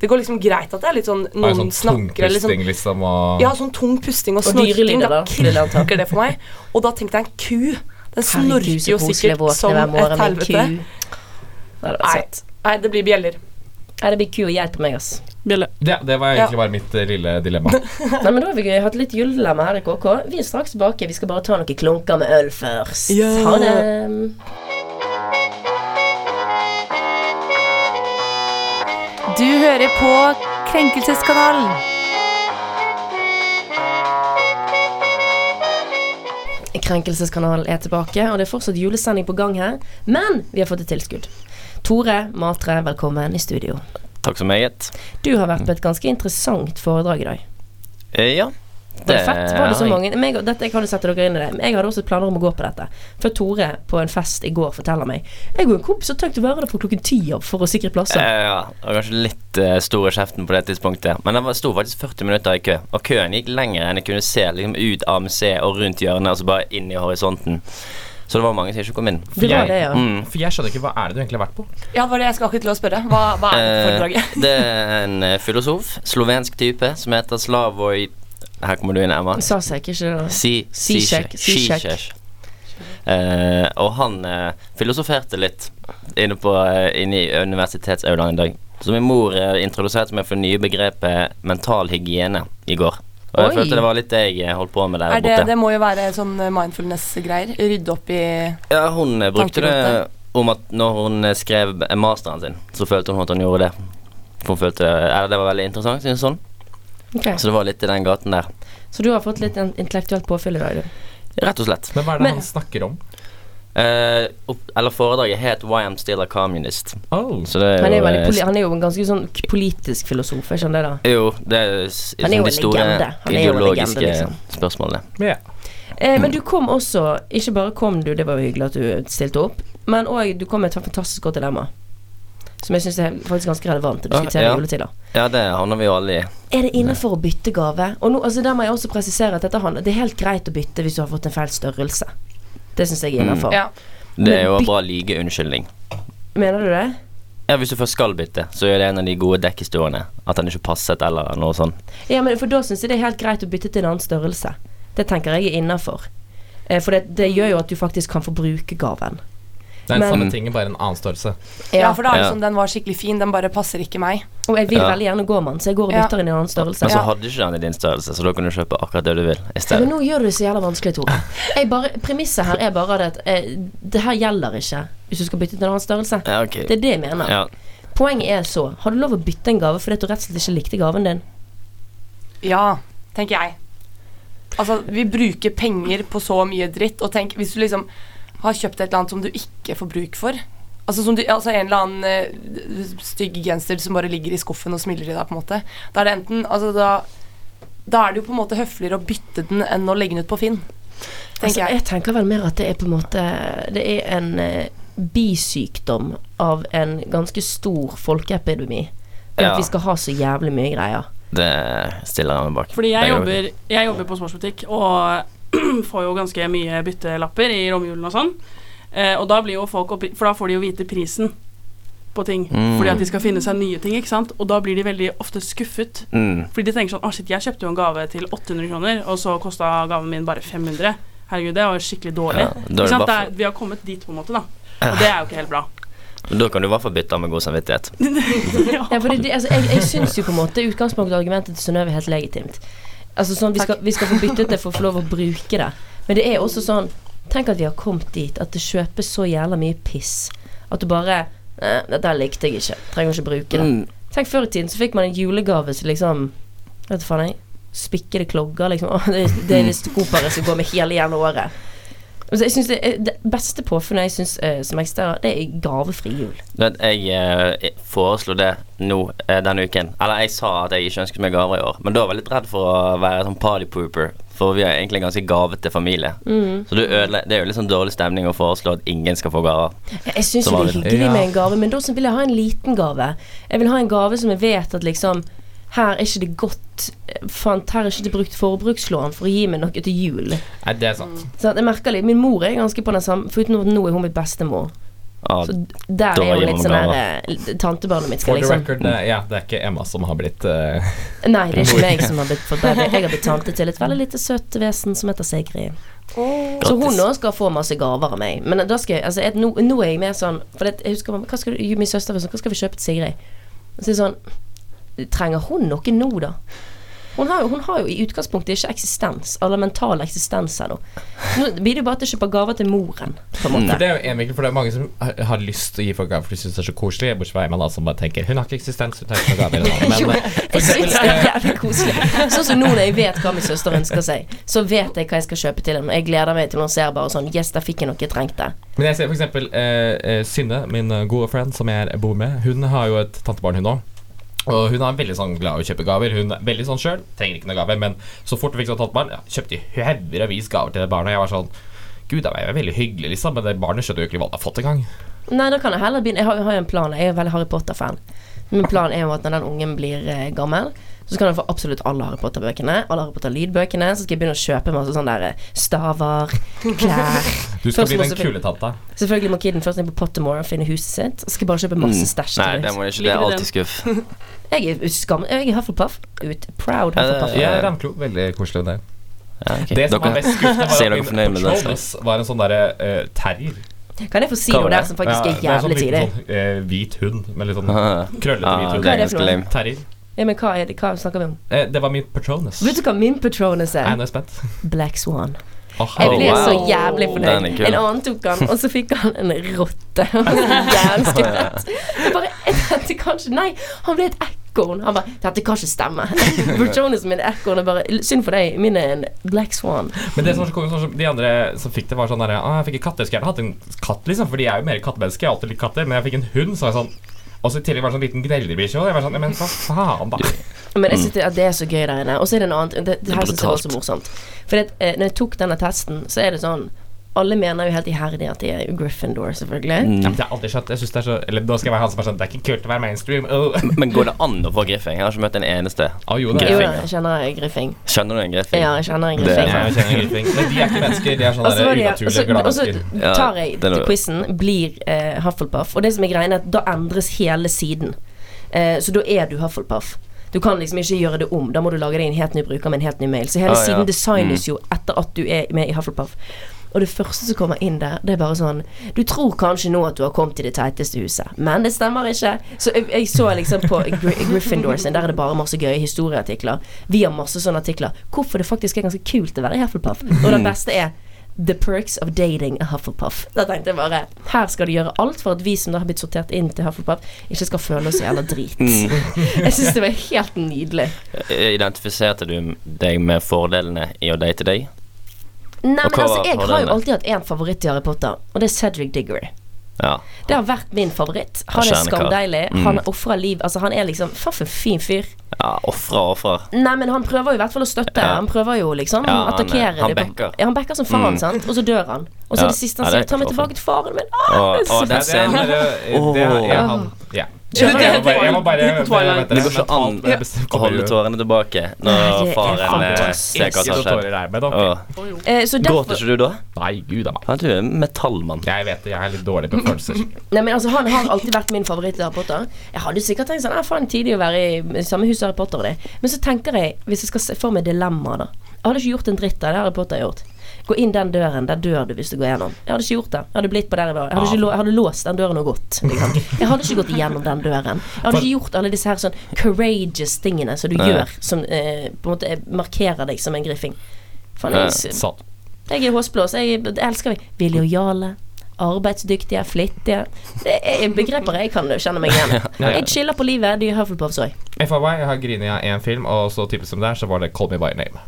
Speaker 3: Det går liksom greit at det er litt sånn
Speaker 4: Har en
Speaker 3: noen
Speaker 4: sånn
Speaker 3: snakker eller liksom
Speaker 4: tungpusting, liksom, og
Speaker 3: Ja, sånn tung pusting og
Speaker 2: Og
Speaker 3: snorking.
Speaker 2: dyrelyder,
Speaker 3: Da
Speaker 2: da, vil jeg anta.
Speaker 3: knirker det for meg. Og da tenkte jeg en ku.
Speaker 2: Herregud,
Speaker 3: Den snorker
Speaker 2: så
Speaker 3: jo
Speaker 2: koselig å
Speaker 3: sikkert
Speaker 2: våkne
Speaker 3: som
Speaker 2: hver morgen med
Speaker 3: et
Speaker 2: en ku.
Speaker 3: helvete.
Speaker 2: Nei, det hadde
Speaker 3: Nei.
Speaker 2: vært søtt.
Speaker 3: Nei, det blir bjeller.
Speaker 2: Nei, det blir ku og geit på meg, ass.
Speaker 5: Bjelle.
Speaker 4: det, det var egentlig bare mitt eh, lille dilemma.
Speaker 2: Nei, men Da har vi gøy. hatt litt julelam her i KK. Vi er straks tilbake. Vi skal bare ta noen klunker med øl først.
Speaker 3: Ja.
Speaker 2: Ha det.
Speaker 6: Du hører på Krenkelseskanalen.
Speaker 2: Krenkelseskanalen er tilbake, og det er fortsatt julesending på gang her. Men vi har fått et tilskudd. Tore Matre, velkommen i studio.
Speaker 7: Takk så meget.
Speaker 2: Du har vært på et ganske interessant foredrag i dag.
Speaker 7: Eh, ja. Eh,
Speaker 2: Var det fett? Var det så
Speaker 7: har jeg-
Speaker 2: mange? Men jeg, dette, jeg kan jo sette dere inn i det. Men jeg hadde også planer om å gå på dette. Før Tore på en fest i går forteller meg Jeg og en kompis har tenkt å være der fra klokken ti av for å sikre
Speaker 7: Eh,
Speaker 2: plasser.
Speaker 7: ja. Det var kanskje litt eh, stor i kjeften på det tidspunktet. Men det var- sto faktisk 40 minutter i kø, og køen gikk lenger enn jeg kunne se liksom, ut av museet og rundt hjørnet, og så bare inn i horisonten. Så det var mange som ikke kom inn. For
Speaker 2: Det var
Speaker 7: jeg-
Speaker 2: det, ja.
Speaker 7: Mm,
Speaker 4: For jeg skjønner ikke hva er det du egentlig har vært på?
Speaker 3: Ja, det var det jeg skal akkurat til å spørre. Hva, hva er dette
Speaker 7: Eh,
Speaker 3: foredraget?
Speaker 7: det er en eh, filosof, slovensk type, som heter Slavoj Her kommer du inn, Emma.
Speaker 2: Sa seg ikke ikke det?
Speaker 7: Si,
Speaker 2: Zizek, Zizek.
Speaker 7: Zizek. Eh, og han eh, filosoferte litt inne, på, eh, inne i universitetsaulaen i dag. Så min mor eh, introduserte meg for det nye begrepet mental hygiene i går. Og jeg
Speaker 2: Oi.
Speaker 7: følte det var litt det jeg eh, holdt på med der
Speaker 3: Er det,
Speaker 7: borte.
Speaker 3: det må jo være sånn mindfulness-greier. Rydde opp i
Speaker 7: Ja, hun eh, brukte det
Speaker 3: Tankerotet.
Speaker 7: om at når hun eh, skrev eh, masteren sin, så følte hun at hun gjorde det. For Hun følte Eller det var veldig interessant, synes hun.
Speaker 2: Ok.
Speaker 7: Så det var litt i den gaten der.
Speaker 2: Så du har fått litt en- intellektuelt påfyll i dag, du.
Speaker 7: Eh, Rett og slett.
Speaker 4: Men hva er det
Speaker 2: Men-
Speaker 4: han snakker om?
Speaker 7: Eh, opp, eller foredraget het 'Why I'm Still a Communist'.
Speaker 4: Oh.
Speaker 7: Så det er
Speaker 2: Han er jo,
Speaker 7: jo,
Speaker 2: veldig
Speaker 7: eh,
Speaker 2: poli han er jo en ganske sånn k- politisk filosof, er ikke han det, da?
Speaker 7: Jo, det er jo s-
Speaker 2: Han er jo
Speaker 7: liksom
Speaker 2: en
Speaker 7: de store
Speaker 2: legende. Han er jo en
Speaker 7: ideologiske
Speaker 2: legende, liksom.
Speaker 7: spørsmålene.
Speaker 4: Ja.
Speaker 2: Eh, men du kom også Ikke bare kom du, det var jo hyggelig at du stilte opp, men òg du kom med et fantastisk godt dilemma. Som jeg syns er faktisk ganske relevant å
Speaker 7: Ja,
Speaker 2: diskutere i
Speaker 7: ja.
Speaker 2: juletider.
Speaker 7: Ja, det havner vi jo alle i.
Speaker 2: Er det innenfor å bytte gave? Og nå, altså der må jeg også presisere at dette handler, det er helt greit å bytte hvis du har fått en feil størrelse. Det syns
Speaker 7: Mm.
Speaker 2: jeg er innenfor.
Speaker 3: Ja.
Speaker 7: Det er jo
Speaker 2: Men
Speaker 7: en
Speaker 2: byt-
Speaker 7: bra lygeunnskyldning.
Speaker 2: Mener du det?
Speaker 7: Ja, Hvis du først skal bytte, så er det en av de gode dekkestuene. At den ikke passet eller noe sånt.
Speaker 2: Ja, men For da syns jeg det er helt greit å bytte til en annen størrelse. Det tenker jeg er innafor. Eh, For det, det gjør jo at du faktisk kan få bruke gaven.
Speaker 4: Det er den
Speaker 2: Men-
Speaker 4: samme tingen, bare en annen størrelse.
Speaker 3: ja, for da er det
Speaker 7: Ja.
Speaker 3: sånn den var skikkelig fin, den bare passer ikke meg.
Speaker 2: Og jeg vil
Speaker 7: Ja.
Speaker 2: veldig gjerne gå med den, så jeg går og bytter inn i en annen størrelse.
Speaker 7: Men så
Speaker 3: Ja.
Speaker 7: hadde ikke den i din størrelse, så da kunne du kjøpe akkurat det du vil i
Speaker 2: Ja, Men
Speaker 7: stedet.
Speaker 2: nå gjør du det så jævla vanskelig, Tore. Jeg bare, premisset her er bare det at eh, det her gjelder ikke hvis du skal bytte til en annen størrelse.
Speaker 7: Ja, ok.
Speaker 2: Det er det jeg mener.
Speaker 7: Ja.
Speaker 2: Poenget er så Har du lov å bytte en gave fordi at du rett og slett ikke likte gaven din?
Speaker 3: Ja, tenker jeg. Altså, vi bruker penger på så mye dritt, og tenk hvis du liksom har kjøpt et eller annet som du ikke får bruk for. Altså, som du, altså en eller annen eh, stygg genser som bare ligger i skuffen og smiler til deg, på en måte. Da er det enten Altså, da da er det jo på en måte høfligere å bytte den enn å legge den ut på Finn. Tenker
Speaker 2: altså,
Speaker 3: jeg.
Speaker 2: jeg tenker vel mer at det er på en måte Det er en eh, bisykdom av en ganske stor folkeepidemi. Det
Speaker 7: Ja.
Speaker 2: At vi skal ha så jævlig mye greier.
Speaker 7: Det stiller jeg meg bak.
Speaker 5: Fordi
Speaker 7: Det
Speaker 5: jeg
Speaker 7: er jo-
Speaker 5: jobber, jeg jobber på sportsbutikk og får jo ganske mye byttelapper i romjulen og sånn. Eh, og da blir jo folk oppi, For da får de jo vite prisen. på ting
Speaker 7: Mm.
Speaker 5: fordi at de skal finne seg nye ting. ikke sant? Og da blir de veldig ofte skuffet.
Speaker 7: Mm.
Speaker 5: Fordi de tenker sånn Å, shit, jeg kjøpte jo en gave til 800 kroner, og så kosta gaven min bare 500. Herregud, det var jo skikkelig dårlig.
Speaker 7: Ja, da,
Speaker 5: ikke
Speaker 7: er det
Speaker 5: sant? Det
Speaker 7: bare
Speaker 5: er, vi har kommet dit, på en måte, da. Og det er jo ikke helt bra.
Speaker 7: for, da kan du i hvert fall bytte av med god samvittighet.
Speaker 2: Ja, for det, det- altså, jeg, jeg syns jo på en måte utgangspunktet og argumentet til Synnøve er helt legitimt. Altså sånn, vi skal, vi skal få byttet det for å få lov å bruke det. Men det er også sånn Tenk at vi har kommet dit at det kjøpes så jævla mye piss at du bare eh, 'Dette her likte jeg ikke. Trenger ikke bruke det.'
Speaker 7: Mm.
Speaker 2: Tenk Før i tiden så fikk man en julegave som liksom Vet du faen jeg Spikkede klogger, liksom. Å, det, det er det skopere som går med hele jævla året. Altså, jeg synes det, det beste påfunnet jeg synes, eh, som eksisterer, det er gavefri jul.
Speaker 7: Men jeg eh, foreslo det nå eh, denne uken. Eller jeg sa at jeg ikke ønsket meg gaver i år, men da var jeg litt redd for å være sånn party pooper. For vi er egentlig en ganske gavete familie.
Speaker 2: Mm.
Speaker 7: Så du ødele, det er jo litt sånn dårlig stemning å foreslå at ingen skal få gaver.
Speaker 2: Jeg syns
Speaker 7: Som
Speaker 2: jo det er
Speaker 7: vanlig.
Speaker 2: hyggelig
Speaker 4: Ja.
Speaker 2: med en gave, men da så vil jeg ha en liten gave. Jeg vil ha en gave som jeg vet at liksom her er ikke det godt eh, Fant, her er ikke det brukt forbrukslån for å gi meg noe til jul.
Speaker 4: Nei, det er sant.
Speaker 2: Så jeg merker litt, Min mor er ganske på den samme, foruten at nå er hun min bestemor.
Speaker 7: Ah,
Speaker 2: Så der er
Speaker 7: da
Speaker 2: hun
Speaker 7: gir
Speaker 2: litt
Speaker 7: man
Speaker 2: sånn
Speaker 7: gaver.
Speaker 2: der eh, Tantebarnet mitt skal
Speaker 4: For the
Speaker 2: liksom
Speaker 4: record, eh, ja, det er ikke Emma som har blitt eh,
Speaker 2: Nei, det er ikke meg som har blitt for bedre. Jeg har blitt tante til et veldig lite søtt vesen som heter Sigrid. Så hun
Speaker 7: Grattis.
Speaker 2: òg skal få masse gaver av meg. Men da skal jeg, altså, jeg, nå, nå er jeg mer sånn For det, jeg husker mamma, hva skal du, Min søster var sånn Hva skal vi kjøpe til Sigrid? Og så er det sånn Trenger hun noe nå, da? Hun har, jo, hun har jo i utgangspunktet ikke eksistens, eller mental eksistens her nå. Nå blir det jo bare at jeg kjøper gaver til moren, på en
Speaker 4: For
Speaker 2: måte.
Speaker 4: det er jo en vinkel, for det er mange som har- har lyst til å gi folk gaver, for de syns det er så koselig. Bortsett fra Emma, da, som bare tenker 'hun har ikke eksistens', hun tar ikke noen gaver. nå». Men,
Speaker 2: Jo,
Speaker 4: eh, for
Speaker 2: Jeg syns det er
Speaker 4: eksempel, eh,
Speaker 2: jævlig koselig. Sånn som nå når jeg vet hva min søster ønsker seg, så vet jeg hva jeg skal kjøpe til henne. Og jeg gleder meg til hun ser bare sånn Yes, der fikk jeg noe jeg trengte.
Speaker 4: men jeg ser for eksempel eh, eh, Synne, min eh, gode friend som jeg bor med, hun har jo et tantebarn, hun òg. Og hun er veldig sånn glad i å kjøpe gaver. Hun er veldig sånn sjøl, trenger ikke noen gaver. Men så fort hun fikk sånn tantebarn, ja, kjøpte hun hauger av vis gaver til det barnet. Og jeg var sånn Gud, det var veldig hyggelig, liksom, men det barnet skjønner jo ikke hva det har fått engang.
Speaker 2: Nei, da kan jeg heller begynne. Jeg har, jeg har jo en plan. Jeg er jo veldig Harry Potter-fan. Min plan er jo at når den ungen blir eh, gammel, så kan jeg få absolutt alle Harry Potter-bøkene. Alle Harry Potter-lydbøkene. Så skal jeg begynne å kjøpe masse sånne der eh, staver, klær
Speaker 4: Du skal
Speaker 2: Først
Speaker 4: bli
Speaker 2: må
Speaker 4: den
Speaker 2: også-
Speaker 4: kule tanta.
Speaker 2: Selvfølgelig må kiden først ned på Pottermore og finne huset sitt. Og så skal jeg bare kjøpe masse stæsj.
Speaker 7: Mm. Nei,
Speaker 2: til
Speaker 7: det
Speaker 2: det.
Speaker 7: må jeg ikke. Det
Speaker 5: Liker du
Speaker 7: er alltid skuff.
Speaker 2: Jeg er skam... Jeg er Hufflepuff. Ut. Proud
Speaker 7: Ja, det-
Speaker 2: Hufflepuff.
Speaker 4: Ja, Ramklo. Veldig koselig, det.
Speaker 7: Ja, ok.
Speaker 4: Det som
Speaker 7: Dere-
Speaker 4: var mest skuffende,
Speaker 7: Sier
Speaker 4: var
Speaker 7: dere
Speaker 4: at
Speaker 7: fornøyd
Speaker 4: min
Speaker 7: med den
Speaker 4: Patronus var en sånn derre eh, terrier.
Speaker 2: Kan jeg få si
Speaker 7: Hva
Speaker 2: noe
Speaker 7: var
Speaker 2: der
Speaker 7: det?
Speaker 2: som faktisk er
Speaker 4: det er sånn
Speaker 2: jævlig tidlig?
Speaker 4: liten Sånn, eh, hvit hund med litt sånn
Speaker 7: Ah,
Speaker 4: krøllete
Speaker 7: ah,
Speaker 4: hvit
Speaker 7: det
Speaker 2: Hva
Speaker 7: er
Speaker 2: er det for
Speaker 7: ganske
Speaker 2: noe?
Speaker 7: lame.
Speaker 4: Terrier.
Speaker 2: Ja, men hva, er det, hva snakker vi om?
Speaker 4: Eh, det var min Patronus.
Speaker 2: Vet du hva min Patronus
Speaker 4: Nei,
Speaker 2: er?
Speaker 4: nå er jeg spent. Ah,
Speaker 2: Black Swan.
Speaker 4: Åh,
Speaker 2: Jeg
Speaker 7: Oh,
Speaker 2: ble så
Speaker 7: wow.
Speaker 2: jævlig fornøyd.
Speaker 7: Den er kul.
Speaker 2: En annen tok han, og så fikk han en rotte. Han var så jævlig skuffet. Jeg bare jeg tenkte kanskje Nei, han ble et ekorn. Han bare Dette kan ikke stemme. Bertonusen min er ekorn. og bare Synd for deg, min er en black swan.
Speaker 4: Men det som var så komisk, var sånn- de andre som fikk det, var sånn derre ah, Jeg fikk en katt, jeg skulle gjerne hatt en katt, liksom, fordi jeg er jo mer kattemenneske. Jeg har alltid likt katter, men jeg fikk en hund, så var jeg sånn og så i tillegg var det sånn liten grellebikkje. og Jeg var sånn, «Nei, men hva faen, da?
Speaker 2: Men jeg synes det, at det er så gøy der inne. Og så er det en annen Det, det her synes jeg var så
Speaker 7: brutalt.
Speaker 2: morsomt. For det, eh, når jeg tok denne testen, så er det sånn Alle mener jo helt iherdig at de er Gryffindor, selvfølgelig.
Speaker 4: Ja,
Speaker 7: Mm.
Speaker 4: men det har jeg aldri skjønt. Jeg synes det er så Eller nå skal jeg være han som er sånn Det er ikke kult å være mainstream. Åh
Speaker 7: Men går det an å få griffing? Jeg har ikke møtt en eneste.
Speaker 4: Å, jo,
Speaker 2: Jo,
Speaker 4: det er
Speaker 7: Griffing.
Speaker 2: da, jeg kjenner en griffing.
Speaker 7: Skjønner du en griffing?
Speaker 2: Ja, jeg kjenner en
Speaker 7: Det er-
Speaker 2: griffing.
Speaker 4: Ja, jeg kjenner ingenting. Men de er ikke mennesker, de er sånne
Speaker 2: Og så var
Speaker 4: der
Speaker 2: det- og så-
Speaker 4: unaturlige glade
Speaker 2: og så
Speaker 4: mennesker.
Speaker 7: Ja,
Speaker 2: tar jeg
Speaker 7: det er
Speaker 2: til
Speaker 7: noe-
Speaker 2: quizen, blir eh, Hufflepuff. Og det som er greia, er at da endres hele siden. Eh, så da er du Hufflepuff. Du kan liksom ikke gjøre det om. Da må du lage deg en helt ny bruker med en helt ny mail. Så Altså, hele
Speaker 7: Ah, ja.
Speaker 2: siden designes jo etter at du er med i Hufflepuff. Og det første som kommer inn der, det er bare sånn Du tror kanskje nå at du har kommet til det teiteste huset, men det stemmer ikke. Så jeg, jeg så liksom på Gry- Gryffindor sin, der er det bare masse gøye historieartikler. Vi har masse sånne artikler. Hvorfor det faktisk er ganske kult å være i Hufflepuff. Og
Speaker 7: Mm.
Speaker 2: det beste er The perks of dating a Hufflepuff. Da tenkte jeg bare Her skal de gjøre alt for at vi som da har blitt sortert inn til Hufflepuff, ikke skal føle oss jævla drit.
Speaker 7: Mm.
Speaker 2: Jeg syns det var helt nydelig.
Speaker 7: Eh, Identifiserte du deg med fordelene i å date deg?
Speaker 2: Nei,
Speaker 7: Og
Speaker 2: men
Speaker 7: hva
Speaker 2: altså,
Speaker 7: var
Speaker 2: jeg har jo
Speaker 7: fordelene?
Speaker 2: alltid hatt én favoritt i Harry Potter, og det er Cedric Diggory.
Speaker 7: Ja.
Speaker 2: Det har vært min favoritt. Han er
Speaker 7: Kjernekar.
Speaker 2: skamdeilig.
Speaker 7: Mm.
Speaker 2: Han ofrer liv. Altså, han er liksom Faen, for en fin fyr.
Speaker 7: ja ofrer og ofrer.
Speaker 2: Nei, men han prøver jo i hvert fall å støtte.
Speaker 7: Ja.
Speaker 2: Han prøver jo liksom
Speaker 7: Ja,
Speaker 2: å
Speaker 7: han er-
Speaker 2: attakkere
Speaker 7: han
Speaker 2: det på-
Speaker 7: backer.
Speaker 2: Ja, han backer som faen,
Speaker 7: Mm.
Speaker 2: sant, og så dør han. Og så
Speaker 7: Ja.
Speaker 2: er det siste han
Speaker 7: Ja,
Speaker 2: sier,
Speaker 7: det er
Speaker 2: 'ta meg
Speaker 7: ikke
Speaker 2: tilbake til faren min'. Ah,
Speaker 7: Og,
Speaker 2: det er så
Speaker 4: Nei,
Speaker 7: og den
Speaker 4: det er han
Speaker 7: scenen
Speaker 4: derre- det er-
Speaker 7: Åh.
Speaker 4: ja, han- Ja. Jeg må
Speaker 5: det-
Speaker 4: bare- jeg må bare
Speaker 5: Twilight.
Speaker 4: vente,
Speaker 7: Det går ikke
Speaker 4: mentalt
Speaker 7: an
Speaker 4: bare bestem-
Speaker 7: Å
Speaker 4: kommer
Speaker 7: holde
Speaker 4: jo.
Speaker 7: tårene tilbake
Speaker 2: Nei,
Speaker 7: når
Speaker 2: det er
Speaker 7: faren eh, ser hva
Speaker 4: Ikke
Speaker 7: som
Speaker 4: noe
Speaker 7: har skjedd.
Speaker 4: tårer her, men ok.
Speaker 7: Åh.
Speaker 2: Eh, så derfor,
Speaker 7: Gråter ikke du da?
Speaker 4: Nei, gud a meg.
Speaker 7: Han er jo en metallmann.
Speaker 4: Jeg vet det, jeg er litt dårlig på følelser.
Speaker 2: Nei, men altså, Han har alltid vært min favoritt i Harry Potter. Jeg hadde sikkert tenkt sånn, «Ah, faen, tidlig å være i samme hus som Harry Potter. og Det. Men så tenkte jeg, hvis jeg skal se for meg dilemmaet, da Jeg hadde ikke gjort en dritt av det Harry Potter har gjort. Gå inn den døren. Der dør du hvis du går gjennom. Jeg hadde ikke gjort det. Jeg hadde blitt på der jeg var. Jeg hadde, ikke lå, jeg hadde låst den døren og gått. Liksom. Jeg hadde ikke gått igjennom den døren. Jeg hadde ikke gjort alle disse her sånn courageous tingene som du
Speaker 7: Nei.
Speaker 2: gjør, som eh, på en måte eh, markerer deg som en griffing. Faen,
Speaker 7: Nei.
Speaker 2: jeg, s-
Speaker 4: Sånn.
Speaker 2: jeg er håsblås. Jeg, jeg elsker meg. Vi er lojale. Arbeidsdyktige, flittige. Det er begreper jeg kan kjenne meg igjen i.
Speaker 4: Ja, ja.
Speaker 2: Jeg chiller på livet. De er Hufflepuffs òg.
Speaker 4: FAY, jeg har grinet av én film, og så typisk som det er, så var det Call Me By Your Name.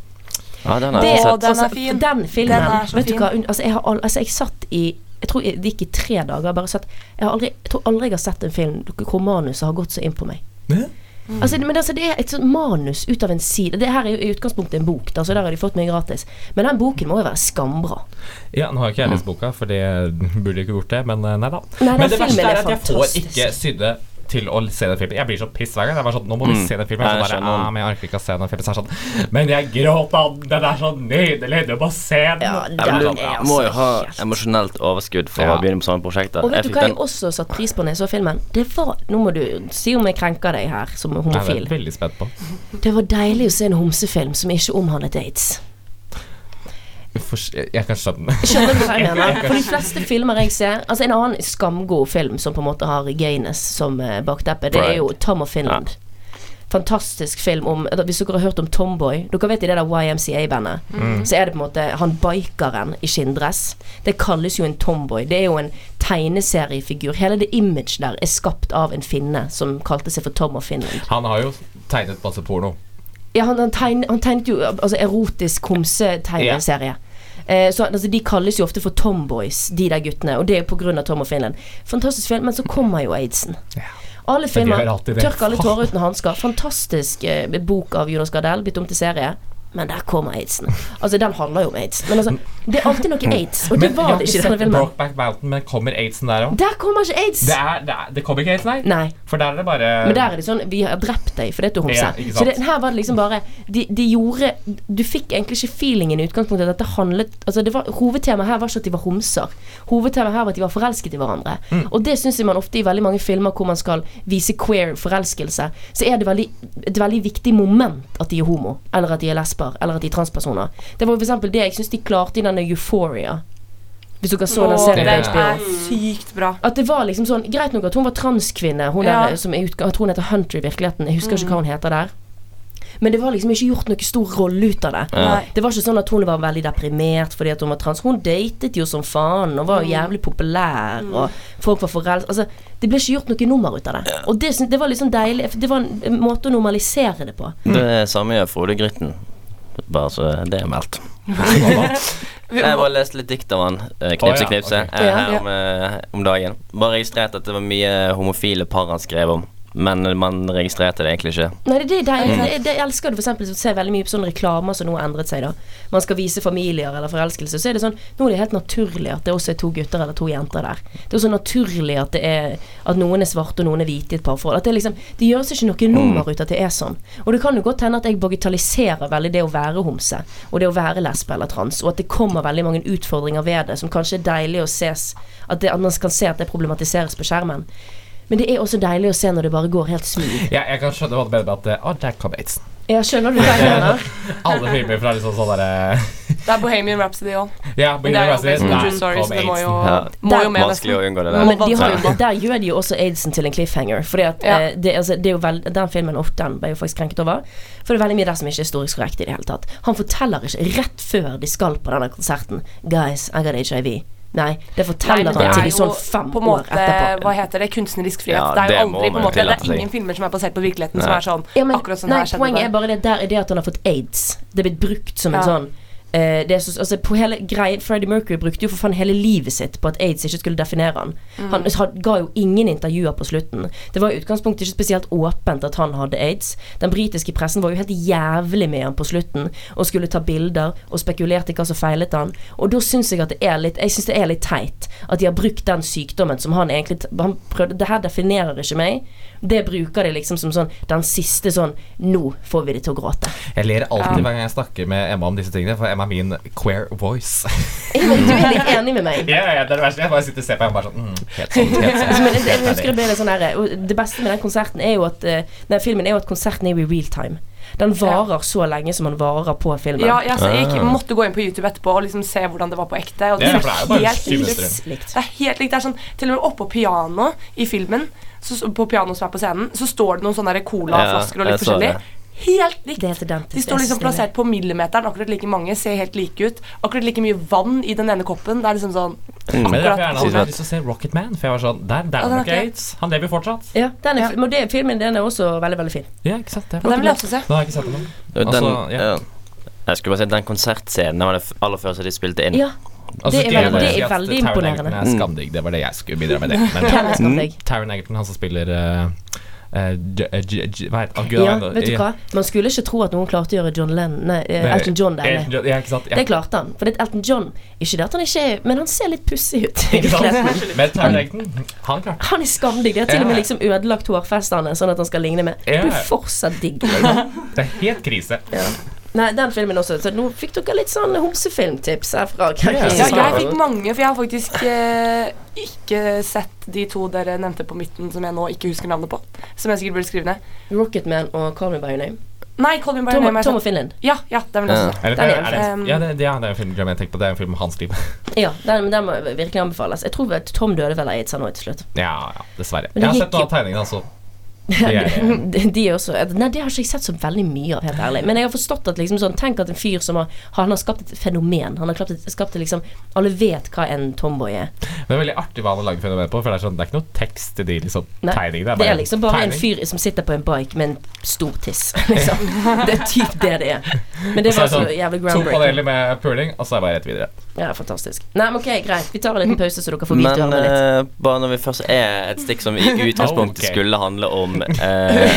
Speaker 7: Ja, den har
Speaker 2: Det-
Speaker 7: jeg
Speaker 3: Å,
Speaker 7: sett.
Speaker 3: den
Speaker 2: Altså,
Speaker 3: er fin.
Speaker 2: Den filmen
Speaker 3: Den er så
Speaker 2: Vet
Speaker 3: fin.
Speaker 2: du hva? un- Altså, jeg, har al altså, jeg satt i Jeg tror det gikk i tre dager. Bare satt, jeg, har aldri, jeg tror aldri jeg har sett en film hvor manuset har gått så inn på meg.
Speaker 4: Hæ?
Speaker 2: Altså, men altså, det er et sånt manus ut av en side. Det her er jo i utgangspunktet en bok, da, så der har de fått meg gratis. Men den boken må jo være skambra.
Speaker 4: Ja, nå har jo ikke jeg lest boka, for det burde jeg ikke gjort det, men eh, nei da.
Speaker 2: Nei, den
Speaker 4: men det
Speaker 2: filmen
Speaker 4: verste
Speaker 2: er
Speaker 4: er at jeg får
Speaker 2: fantastisk.
Speaker 4: ikke sydde til å se den filmen. Jeg blir så piss hver gang. Jeg var sånn, nå må vi
Speaker 7: Mm.
Speaker 4: se den filmen. Jeg,
Speaker 7: Jeg
Speaker 4: er sånn,
Speaker 7: skjønner
Speaker 4: bare,
Speaker 7: den.
Speaker 4: ah, men jeg orker ikke å se den filmen. Så er jeg sånn, men jeg gråt av den, den er så nydelig, du må se den.
Speaker 2: Ja,
Speaker 4: Og
Speaker 2: den
Speaker 7: Ja, men
Speaker 2: er
Speaker 7: du må jo
Speaker 2: altså
Speaker 7: ha
Speaker 2: helt-
Speaker 7: emosjonelt overskudd for
Speaker 4: Ja.
Speaker 7: å begynne på sånne prosjekter.
Speaker 2: Og vet
Speaker 7: Jeg
Speaker 2: du
Speaker 7: fikk
Speaker 2: hva
Speaker 7: den-
Speaker 2: jeg også satte pris på når jeg så filmen? Det var, Nå må du si om jeg krenker deg her som
Speaker 4: jeg er
Speaker 2: homofil.
Speaker 4: veldig spent på.
Speaker 2: Det var deilig å se en homsefilm som ikke omhandlet aids.
Speaker 4: Fors- Jeg kan skjønne det.
Speaker 2: Skjønner du hva jeg mener? For de fleste filmer jeg ser Altså En annen skamgod film som på en måte har gayness som eh, bakteppe, det er jo Tom og Finland. Fantastisk film om eller Hvis dere har hørt om Tomboy Dere vet i det der YMCA-bandet, så er det på en måte han bikeren i skinndress. Det kalles jo en tomboy. Det er jo en tegneseriefigur. Hele det image der er skapt av en finne som kalte seg for Tom og Finland.
Speaker 4: Han har jo tegnet masse porno.
Speaker 2: Ja, han, han, tegn, han tegnet jo altså, erotisk homsetegneserie. Eh, så altså, De kalles jo ofte for tomboys, de der guttene. Og det er på grunn av Tom og Finland. Fantastisk film, men så kommer jo aidsen. Alle
Speaker 4: Men de
Speaker 2: filmer
Speaker 4: gjør alltid det.
Speaker 2: tørker alle tårer uten hansker. Fantastisk eh, bok av Jonas Gardell, bytt om til serie. Men der kommer aidsen. Altså, den handler jo om aids. Men altså, det er alltid noe aids, og det
Speaker 4: Mm. jeg
Speaker 2: var
Speaker 4: har
Speaker 2: det ikke
Speaker 4: ikke
Speaker 2: i denne
Speaker 4: sett
Speaker 2: filmen.
Speaker 4: Brokeback Mountain, men kommer aidsen der òg?
Speaker 2: Der kommer ikke aids!
Speaker 4: Det, er- det, er- det kommer ikke aids, nei?
Speaker 2: Nei.
Speaker 4: For der er det bare
Speaker 2: Men der er det sånn Vi har drept deg fordi at du homser.
Speaker 4: Eh, Ja, ikke sant.
Speaker 2: så det, her var det liksom bare de, de gjorde Du fikk egentlig ikke feelingen i utgangspunktet at dette handlet Altså det var, Hovedtemaet her var ikke at de var homser. Hovedtemaet her var at de var forelsket i hverandre.
Speaker 4: Mm.
Speaker 2: Og det syns jeg man ofte i veldig mange filmer hvor man skal vise queer forelskelse, så er det veldig, et veldig viktig moment at de er homo, eller at de er lesber, eller at de er transpersoner. Det var for eksempel det jeg syns de klarte i denne Euphoria. Hvis dere så den
Speaker 3: Åh,
Speaker 2: serien
Speaker 3: den
Speaker 2: på HBO.
Speaker 4: det
Speaker 3: er sykt bra.
Speaker 2: At det var liksom sånn Greit nok at hun var transkvinne. Hun
Speaker 3: Ja.
Speaker 2: der, som er utga- Jeg tror hun heter Hunter i virkeligheten. Jeg husker ikke hva hun heter der. Men det var liksom ikke gjort noe stor rolle ut av det.
Speaker 7: Ja.
Speaker 2: Det var ikke sånn at hun var veldig deprimert fordi at hun var trans. Hun datet jo som faen og var jo jævlig populær, og folk var forelska Altså, det ble ikke gjort noe nummer ut av det. Og det, syns- det var liksom deilig. for Det var en måte å normalisere det på.
Speaker 7: Det er samme gjør Frode Grytten. Bare så det er meldt.
Speaker 3: Vi-
Speaker 7: Jeg bare leste litt dikt av han. eh, Knipse,
Speaker 4: Å, ja,
Speaker 7: knipse.
Speaker 4: ok.
Speaker 7: eh,
Speaker 2: Ja.
Speaker 7: Her om, eh, om dagen. Bare registrerte at det var mye homofile par han skrev om. Men man registrerte det egentlig ikke.
Speaker 2: Nei, det, det, det, det, det jeg elsker du for eksempel å se veldig mye på sånne reklamer som nå har endret seg. da Man skal vise familier eller forelskelse. Så er det sånn Nå er det helt naturlig at det også er to gutter eller to jenter der. Det er også naturlig at, det er, at noen er svarte og noen er hvite i et parforhold. At det, liksom, det gjøres ikke noe nummer ut av at det er sånn. Og det kan jo godt hende at jeg bagatelliserer veldig det å være homse og det å være lesbe eller trans, og at det kommer veldig mange utfordringer ved det som kanskje er deilig å ses At, det, at man kan se at det problematiseres på skjermen. Men det er også deilig å se når det bare går helt smooth.
Speaker 4: ja, Jeg kan skjønne hva du mener med at eh, Å, der kom aidsen.
Speaker 2: Ja, skjønner du hva jeg mener?
Speaker 4: Alle filmer fra liksom sånn derre
Speaker 3: Det er Bohemian Rhapsody òg.
Speaker 4: Ja,
Speaker 3: Men det er
Speaker 4: Bohemian
Speaker 3: jo
Speaker 4: Rhapsody.
Speaker 3: based on
Speaker 4: Der
Speaker 3: true story,
Speaker 4: kom
Speaker 3: så det må jo,
Speaker 4: aidsen.
Speaker 7: Ja.
Speaker 3: må jo med
Speaker 7: Vanskelig
Speaker 3: nesten.
Speaker 7: å unngå det
Speaker 3: Ja,
Speaker 7: der.
Speaker 2: Men de har jo,
Speaker 7: Ja.
Speaker 2: der gjør de jo også aidsen til en cliffhanger. Fordi at
Speaker 3: Ja.
Speaker 2: eh, det, altså, det er jo veld, Den filmen og den ble jo faktisk krenket over. For det er veldig mye der som ikke er historisk korrekt i det hele tatt. Han forteller ikke rett før de skal på denne konserten Guys, I got HIV. Nei, det
Speaker 3: Nei,
Speaker 2: forteller
Speaker 3: men det
Speaker 2: han til
Speaker 3: er
Speaker 2: de sånn
Speaker 3: jo
Speaker 2: fem
Speaker 3: på en
Speaker 2: år
Speaker 3: måte,
Speaker 2: etterpå.
Speaker 3: hva heter det, kunstnerisk frihet.
Speaker 7: Ja,
Speaker 3: det er jo
Speaker 7: det må
Speaker 3: aldri på
Speaker 7: man
Speaker 3: en
Speaker 7: jo
Speaker 3: måte, det
Speaker 7: tillate
Speaker 3: er
Speaker 7: seg.
Speaker 3: ingen filmer som er basert på virkeligheten som
Speaker 7: Nei.
Speaker 3: er sånn
Speaker 2: Ja, men,
Speaker 3: akkurat sånn
Speaker 2: nei,
Speaker 3: her skjedde
Speaker 2: poenget
Speaker 3: det.
Speaker 2: er bare det der er det at han har fått aids. Det er blitt brukt som en
Speaker 3: Ja.
Speaker 2: sånn eh, det er så, altså på hele greien, Freddie Mercury brukte jo for faen hele livet sitt på at aids ikke skulle definere han. Han had- ga jo ingen intervjuer på slutten. Det var i utgangspunktet ikke spesielt åpent at han hadde aids. Den britiske pressen var jo helt jævlig med han på slutten og skulle ta bilder og spekulerte i hva som feilet han. Og da syns jeg at det er litt Jeg synes det er litt teit at de har brukt den sykdommen som han egentlig t- Han prøvde Det her definerer ikke meg. Det bruker de liksom som sånn den siste sånn Nå får vi de til å gråte.
Speaker 4: Jeg ler alltid hver gang jeg snakker med Emma om disse tingene, for Emma er min queer voice.
Speaker 2: Men du er litt enig med meg?
Speaker 4: Ja, ja, det er det verste. Jeg bare sitter og ser på Emma bare sånn mm, Helt sånn, helt
Speaker 2: Altså,
Speaker 4: sånn.
Speaker 2: men jeg, jeg husker det ble litt sånn her og Det beste med den konserten er jo at eh, Nei, filmen er jo at konserten er jo i real time. Den varer så lenge som den varer på filmen.
Speaker 3: Ja, jeg, så jeg gikk,
Speaker 7: Ah.
Speaker 3: måtte gå inn på YouTube etterpå og liksom se hvordan det var på ekte. Og
Speaker 4: Ja,
Speaker 3: det,
Speaker 4: for det er jo
Speaker 3: er
Speaker 4: bare
Speaker 3: helt
Speaker 4: syv
Speaker 3: likt.
Speaker 4: minutter.
Speaker 2: Likt.
Speaker 3: det er helt likt. Det er sånn, til og med oppå pianoet i filmen, så, så- på pianoet som er på scenen, så står det noen sånne der colaflasker og
Speaker 7: Ja,
Speaker 3: litt
Speaker 7: jeg så
Speaker 3: forskjellig.
Speaker 7: det.
Speaker 3: Helt likt.
Speaker 2: Det er helt identisk.
Speaker 3: De står liksom
Speaker 2: Jeg synes det
Speaker 3: plassert på millimeteren, akkurat like mange, ser helt like ut. Akkurat like mye vann i den ene koppen. Det er liksom sånn
Speaker 4: Men det er derfor jeg gjerne
Speaker 7: Synes
Speaker 4: hadde
Speaker 7: jeg.
Speaker 4: lyst til å se Rocket Man, for jeg var sånn Der, der
Speaker 3: den
Speaker 4: er
Speaker 3: er
Speaker 4: nok
Speaker 3: ikke-
Speaker 4: aids. Han lever jo fortsatt.
Speaker 2: er- Ja, den er, men det, filmen den er også veldig, veldig fin.
Speaker 4: Ja, ikke sant? Det
Speaker 3: Den
Speaker 4: var
Speaker 3: vil jeg også se.
Speaker 4: Nå har jeg ikke sett den.
Speaker 7: Den,
Speaker 4: Altså, ja.
Speaker 7: ja. Jeg skulle bare si Den konsertscenen var det f- aller første de spilte inn.
Speaker 2: Ja, Det er
Speaker 4: Altså, skulle jeg
Speaker 2: veldig-
Speaker 4: bare
Speaker 2: det
Speaker 4: si
Speaker 2: er
Speaker 4: at
Speaker 2: veldig
Speaker 4: Taron
Speaker 2: imponerende. Mm.
Speaker 4: Egerton er skamdigg. Det var det jeg skulle bidra med. Det. Men
Speaker 2: hvem er skamdegg?
Speaker 4: Taron Egerton, han som spiller eh, eh, J- eh, J- J- Hva heter han? Gud,
Speaker 2: Ja,
Speaker 4: han-
Speaker 2: vet du hva? Man skulle ikke tro at noen klarte å gjøre John Lennon Nei, eh,
Speaker 4: Nei,
Speaker 2: Elton John deilig.
Speaker 4: Elton John, Ja, ikke sant? Ja.
Speaker 2: Det klarte han. For det er Elton John Ikke det at han ikke er Men han ser litt pussig ut.
Speaker 4: Ikke sant? Men Taron Egerton, han klarte
Speaker 2: Han er skamdigg. De har til og med
Speaker 4: Ja.
Speaker 2: liksom ødelagt hårfestene sånn at han skal ligne med.
Speaker 4: Ja.
Speaker 2: Du er fortsatt digg.
Speaker 4: det. Det er helt krise.
Speaker 2: Nei, den filmen også. Så nå fikk dere litt sånn homsefilmtips her fra
Speaker 3: Ja,
Speaker 4: Så-
Speaker 3: jeg
Speaker 2: Kristiansand.
Speaker 3: fikk mange, for jeg har faktisk eh, ikke sett de to dere nevnte på midten, som jeg nå ikke husker navnet på. Som jeg sikkert burde skrive ned.
Speaker 2: Rocketman og Call Me By Your Name.
Speaker 3: Nei, Colin
Speaker 2: Tom,
Speaker 3: Barney.
Speaker 2: Tom og Finland.
Speaker 3: Ja, ja, det er vel
Speaker 7: Ja.
Speaker 3: også.
Speaker 4: Er det,
Speaker 2: Den er
Speaker 4: er det,
Speaker 3: en-
Speaker 4: ja, det, det, ja, det er en film jeg tenkte på. Det er en film om hans liv.
Speaker 2: Ja, den, den må virkelig anbefales. Jeg tror vel Tom døde vel av aids han òg til slutt.
Speaker 4: Ja, ja, dessverre.
Speaker 2: Men
Speaker 4: Jeg
Speaker 2: det
Speaker 4: har
Speaker 2: gikk
Speaker 4: sett noen
Speaker 2: jo-
Speaker 4: av tegningene, altså. Det er-
Speaker 2: De de er også Nei, det har ikke jeg sett så veldig mye av, helt ærlig. Men jeg har forstått at liksom sånn Tenk at en fyr som har Han har skapt et fenomen. Han har skapt et, skapt et liksom Alle vet hva en tomboy er.
Speaker 4: Det er veldig artig hva han har lagd fenomen på, for det er, sånn, det er ikke noe tekst til de liksom,
Speaker 2: Nei,
Speaker 4: tegningene.
Speaker 2: Det er liksom bare en
Speaker 4: tegning.
Speaker 2: fyr som sitter på en bike med en stor tiss, liksom. Det er typ det det er. Men det
Speaker 4: Og
Speaker 2: var så
Speaker 4: så er det sånn,
Speaker 2: jævlig
Speaker 4: To
Speaker 2: groundbreaking.
Speaker 4: paneler med puling, og så er det bare rett videre.
Speaker 2: Ja, fantastisk. Nei, men ok, greit. Vi tar en liten pause, så dere får vite
Speaker 7: Men
Speaker 2: ørene litt.
Speaker 7: eh, bare når vi først er et stikk som i utgangspunktet
Speaker 4: Ok.
Speaker 7: skulle handle om eh,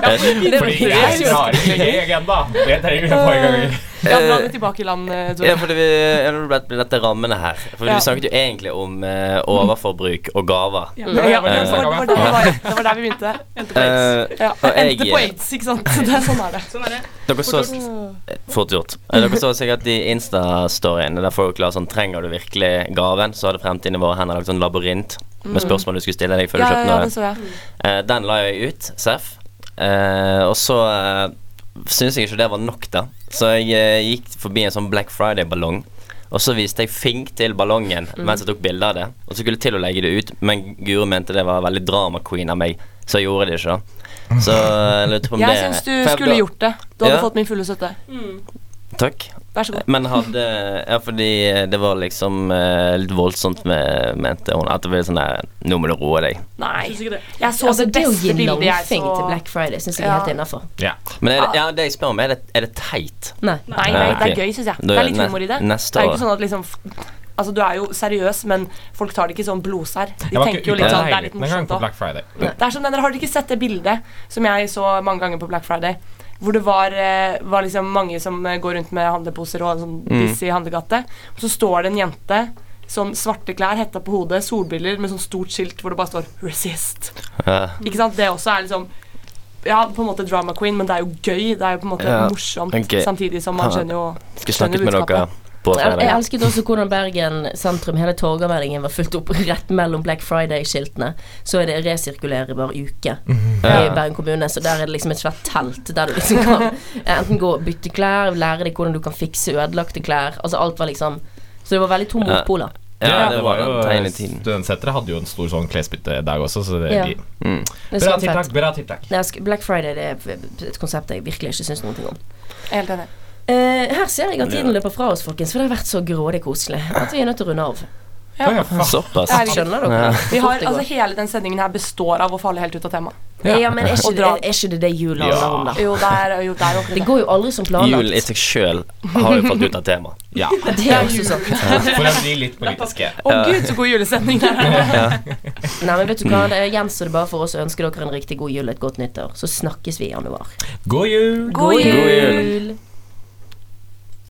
Speaker 2: Det var-
Speaker 4: Fordi jeg har ikke egen agenda. Det trenger vi få i gang.
Speaker 3: Ja, dra det tilbake i land, eh, Tore.
Speaker 7: Ja, fordi vi ja, nå ble dette rammene her. For
Speaker 3: Ja.
Speaker 7: vi snakket jo egentlig om eh, overforbruk og gaver.
Speaker 3: Ja.
Speaker 4: det var det vi
Speaker 3: det, var,
Speaker 4: snakket om,
Speaker 3: det, var, det var der vi begynte. Endte på aids.
Speaker 7: Eh,
Speaker 3: Ja,
Speaker 7: og jeg-
Speaker 3: endte på aids, ikke sant. Det er sånn er det.
Speaker 5: Sånn er det.
Speaker 7: dere så
Speaker 3: gjort.
Speaker 7: Fort gjort. Eh, Dere så sikkert de Insta-storyene der folk la sånn Trenger du virkelig gaven? Så hadde Fremtiden i våre hender lagd sånn labyrint med spørsmål du skulle stille deg før du
Speaker 3: Mm. Ja,
Speaker 7: kjøpte
Speaker 3: ja,
Speaker 7: noe.
Speaker 3: det så jeg.
Speaker 7: Eh, den la jeg ut, Seff. Eh, og så uh, syns jeg ikke det var nok, da. Så jeg eh, gikk forbi en sånn Black Friday-ballong. Og så viste jeg fink til ballongen
Speaker 3: Mm.
Speaker 7: mens jeg tok bilde av det. Og så skulle jeg til å legge det ut, men Guro mente det var veldig drama queen av meg, så jeg gjorde det ikke. da. Så jeg lurte på om det
Speaker 3: Jeg syns du
Speaker 7: for jeg
Speaker 3: skulle
Speaker 7: ble-
Speaker 3: gjort det. Du hadde
Speaker 7: Ja.
Speaker 3: fått min fulle støtte.
Speaker 7: Takk.
Speaker 3: Vær så god.
Speaker 7: Men hadde Ja, fordi det var liksom eh, litt voldsomt, med, mente hun. At det ble sånn der Nå må du roe deg.
Speaker 3: Nei.
Speaker 5: Syns ikke det.
Speaker 3: Jeg så
Speaker 2: Altså,
Speaker 3: det
Speaker 2: det å gi
Speaker 3: beste bildet jeg så.
Speaker 2: langfing til Black Friday syns jeg er
Speaker 3: Ja.
Speaker 2: helt innafor.
Speaker 4: Ja.
Speaker 7: Men
Speaker 3: Ah.
Speaker 7: er det, ja, det jeg spør om, er det, er det teit?
Speaker 2: Nei.
Speaker 3: Nei, nei,
Speaker 7: Ja,
Speaker 3: det
Speaker 7: ok.
Speaker 3: er gøy, syns jeg.
Speaker 7: Da
Speaker 3: Det
Speaker 7: gjør
Speaker 3: er litt
Speaker 7: ne-
Speaker 3: humor i det.
Speaker 7: neste
Speaker 3: det er jo
Speaker 7: år.
Speaker 3: ikke sånn at liksom f- Altså, du er jo seriøs, men folk tar det ikke sånn blodsær. De
Speaker 4: Jeg var ikke
Speaker 3: tenker jo
Speaker 4: ute
Speaker 3: litt
Speaker 4: av
Speaker 3: sånn Det er litt
Speaker 4: leiligheten engang
Speaker 3: morsomt
Speaker 4: på
Speaker 3: òg.
Speaker 4: Black Friday.
Speaker 3: Det er som den der, Har dere ikke sett det bildet som jeg så mange ganger på Black Friday? Hvor det var, eh, var liksom mange som eh, går rundt med handleposer og en
Speaker 7: Mm.
Speaker 3: sånn busy handlegatte. Og så står det en jente, sånn svarte klær, hetta på hodet, solbriller med sånn stort skilt hvor det bare står 'Resist'.
Speaker 7: Ja.
Speaker 3: Ikke sant? Det også er liksom Ja, på en måte drama queen, men det er jo gøy. Det er jo på en måte
Speaker 7: Ja,
Speaker 3: morsomt,
Speaker 7: ok.
Speaker 3: samtidig som man
Speaker 7: Ha-
Speaker 3: skjønner jo
Speaker 7: Skal
Speaker 3: Skjønner
Speaker 7: snakke med dere
Speaker 3: budskapet.
Speaker 7: på
Speaker 2: Jeg jeg
Speaker 7: fredag.
Speaker 2: elsket også hvordan Bergen sentrum, hele Torgallmenningen, var fulgt opp rett mellom Black Friday-skiltene. Så er det resirkulerbar uke i
Speaker 7: Ja.
Speaker 2: Bergen kommune, så der er det liksom et svært telt der du liksom kan enten gå og bytte klær, lære deg hvordan du kan fikse ødelagte klær. Altså alt var liksom Så det var veldig to motpoler.
Speaker 7: Ja, det var jo tegnet i tiden.
Speaker 4: Studentsenteret hadde jo en stor sånn klesbyttedag også, så det
Speaker 2: Ja.
Speaker 4: gir-
Speaker 2: Det
Speaker 4: Bra
Speaker 2: skal være
Speaker 4: tiltak,
Speaker 2: sånn fett.
Speaker 4: bra tiltak.
Speaker 2: Nei, sk- Black Friday det er et konsept jeg virkelig ikke syns noe om.
Speaker 3: Jeg er Helt enig.
Speaker 2: Eh, her ser jeg at tiden løper fra oss, folkens, for det har vært så grådig koselig at vi er nødt til å runde av.
Speaker 4: Å, ja, faen.
Speaker 7: Såpass.
Speaker 3: Herregud.
Speaker 2: Skjønner dere?
Speaker 7: Ja.
Speaker 3: Vi har,
Speaker 2: Fort det går.
Speaker 3: altså, hele den sendingen her består av å falle helt ut av temaet.
Speaker 4: Ja.
Speaker 2: Ja, men er ikke,
Speaker 3: Og dra.
Speaker 2: er, er ikke det det jula
Speaker 4: Ja.
Speaker 2: handler om, da?
Speaker 3: Jo, det er jo det er jo akkurat
Speaker 2: Det går jo aldri som
Speaker 7: Julen i
Speaker 2: planlagt.
Speaker 7: seg sjøl har jo falt ut av temaet.
Speaker 4: Ja.
Speaker 2: Det er også sånn.
Speaker 4: For å bli litt politiske.
Speaker 3: Å gud, så god julesending det er.
Speaker 2: Nei, men vet du hva, det gjenstår det bare for oss å ønske dere en riktig god jul og et godt nyttår. Så snakkes vi i januar.
Speaker 4: God jul!
Speaker 6: God jul!
Speaker 7: God jul.
Speaker 2: jul.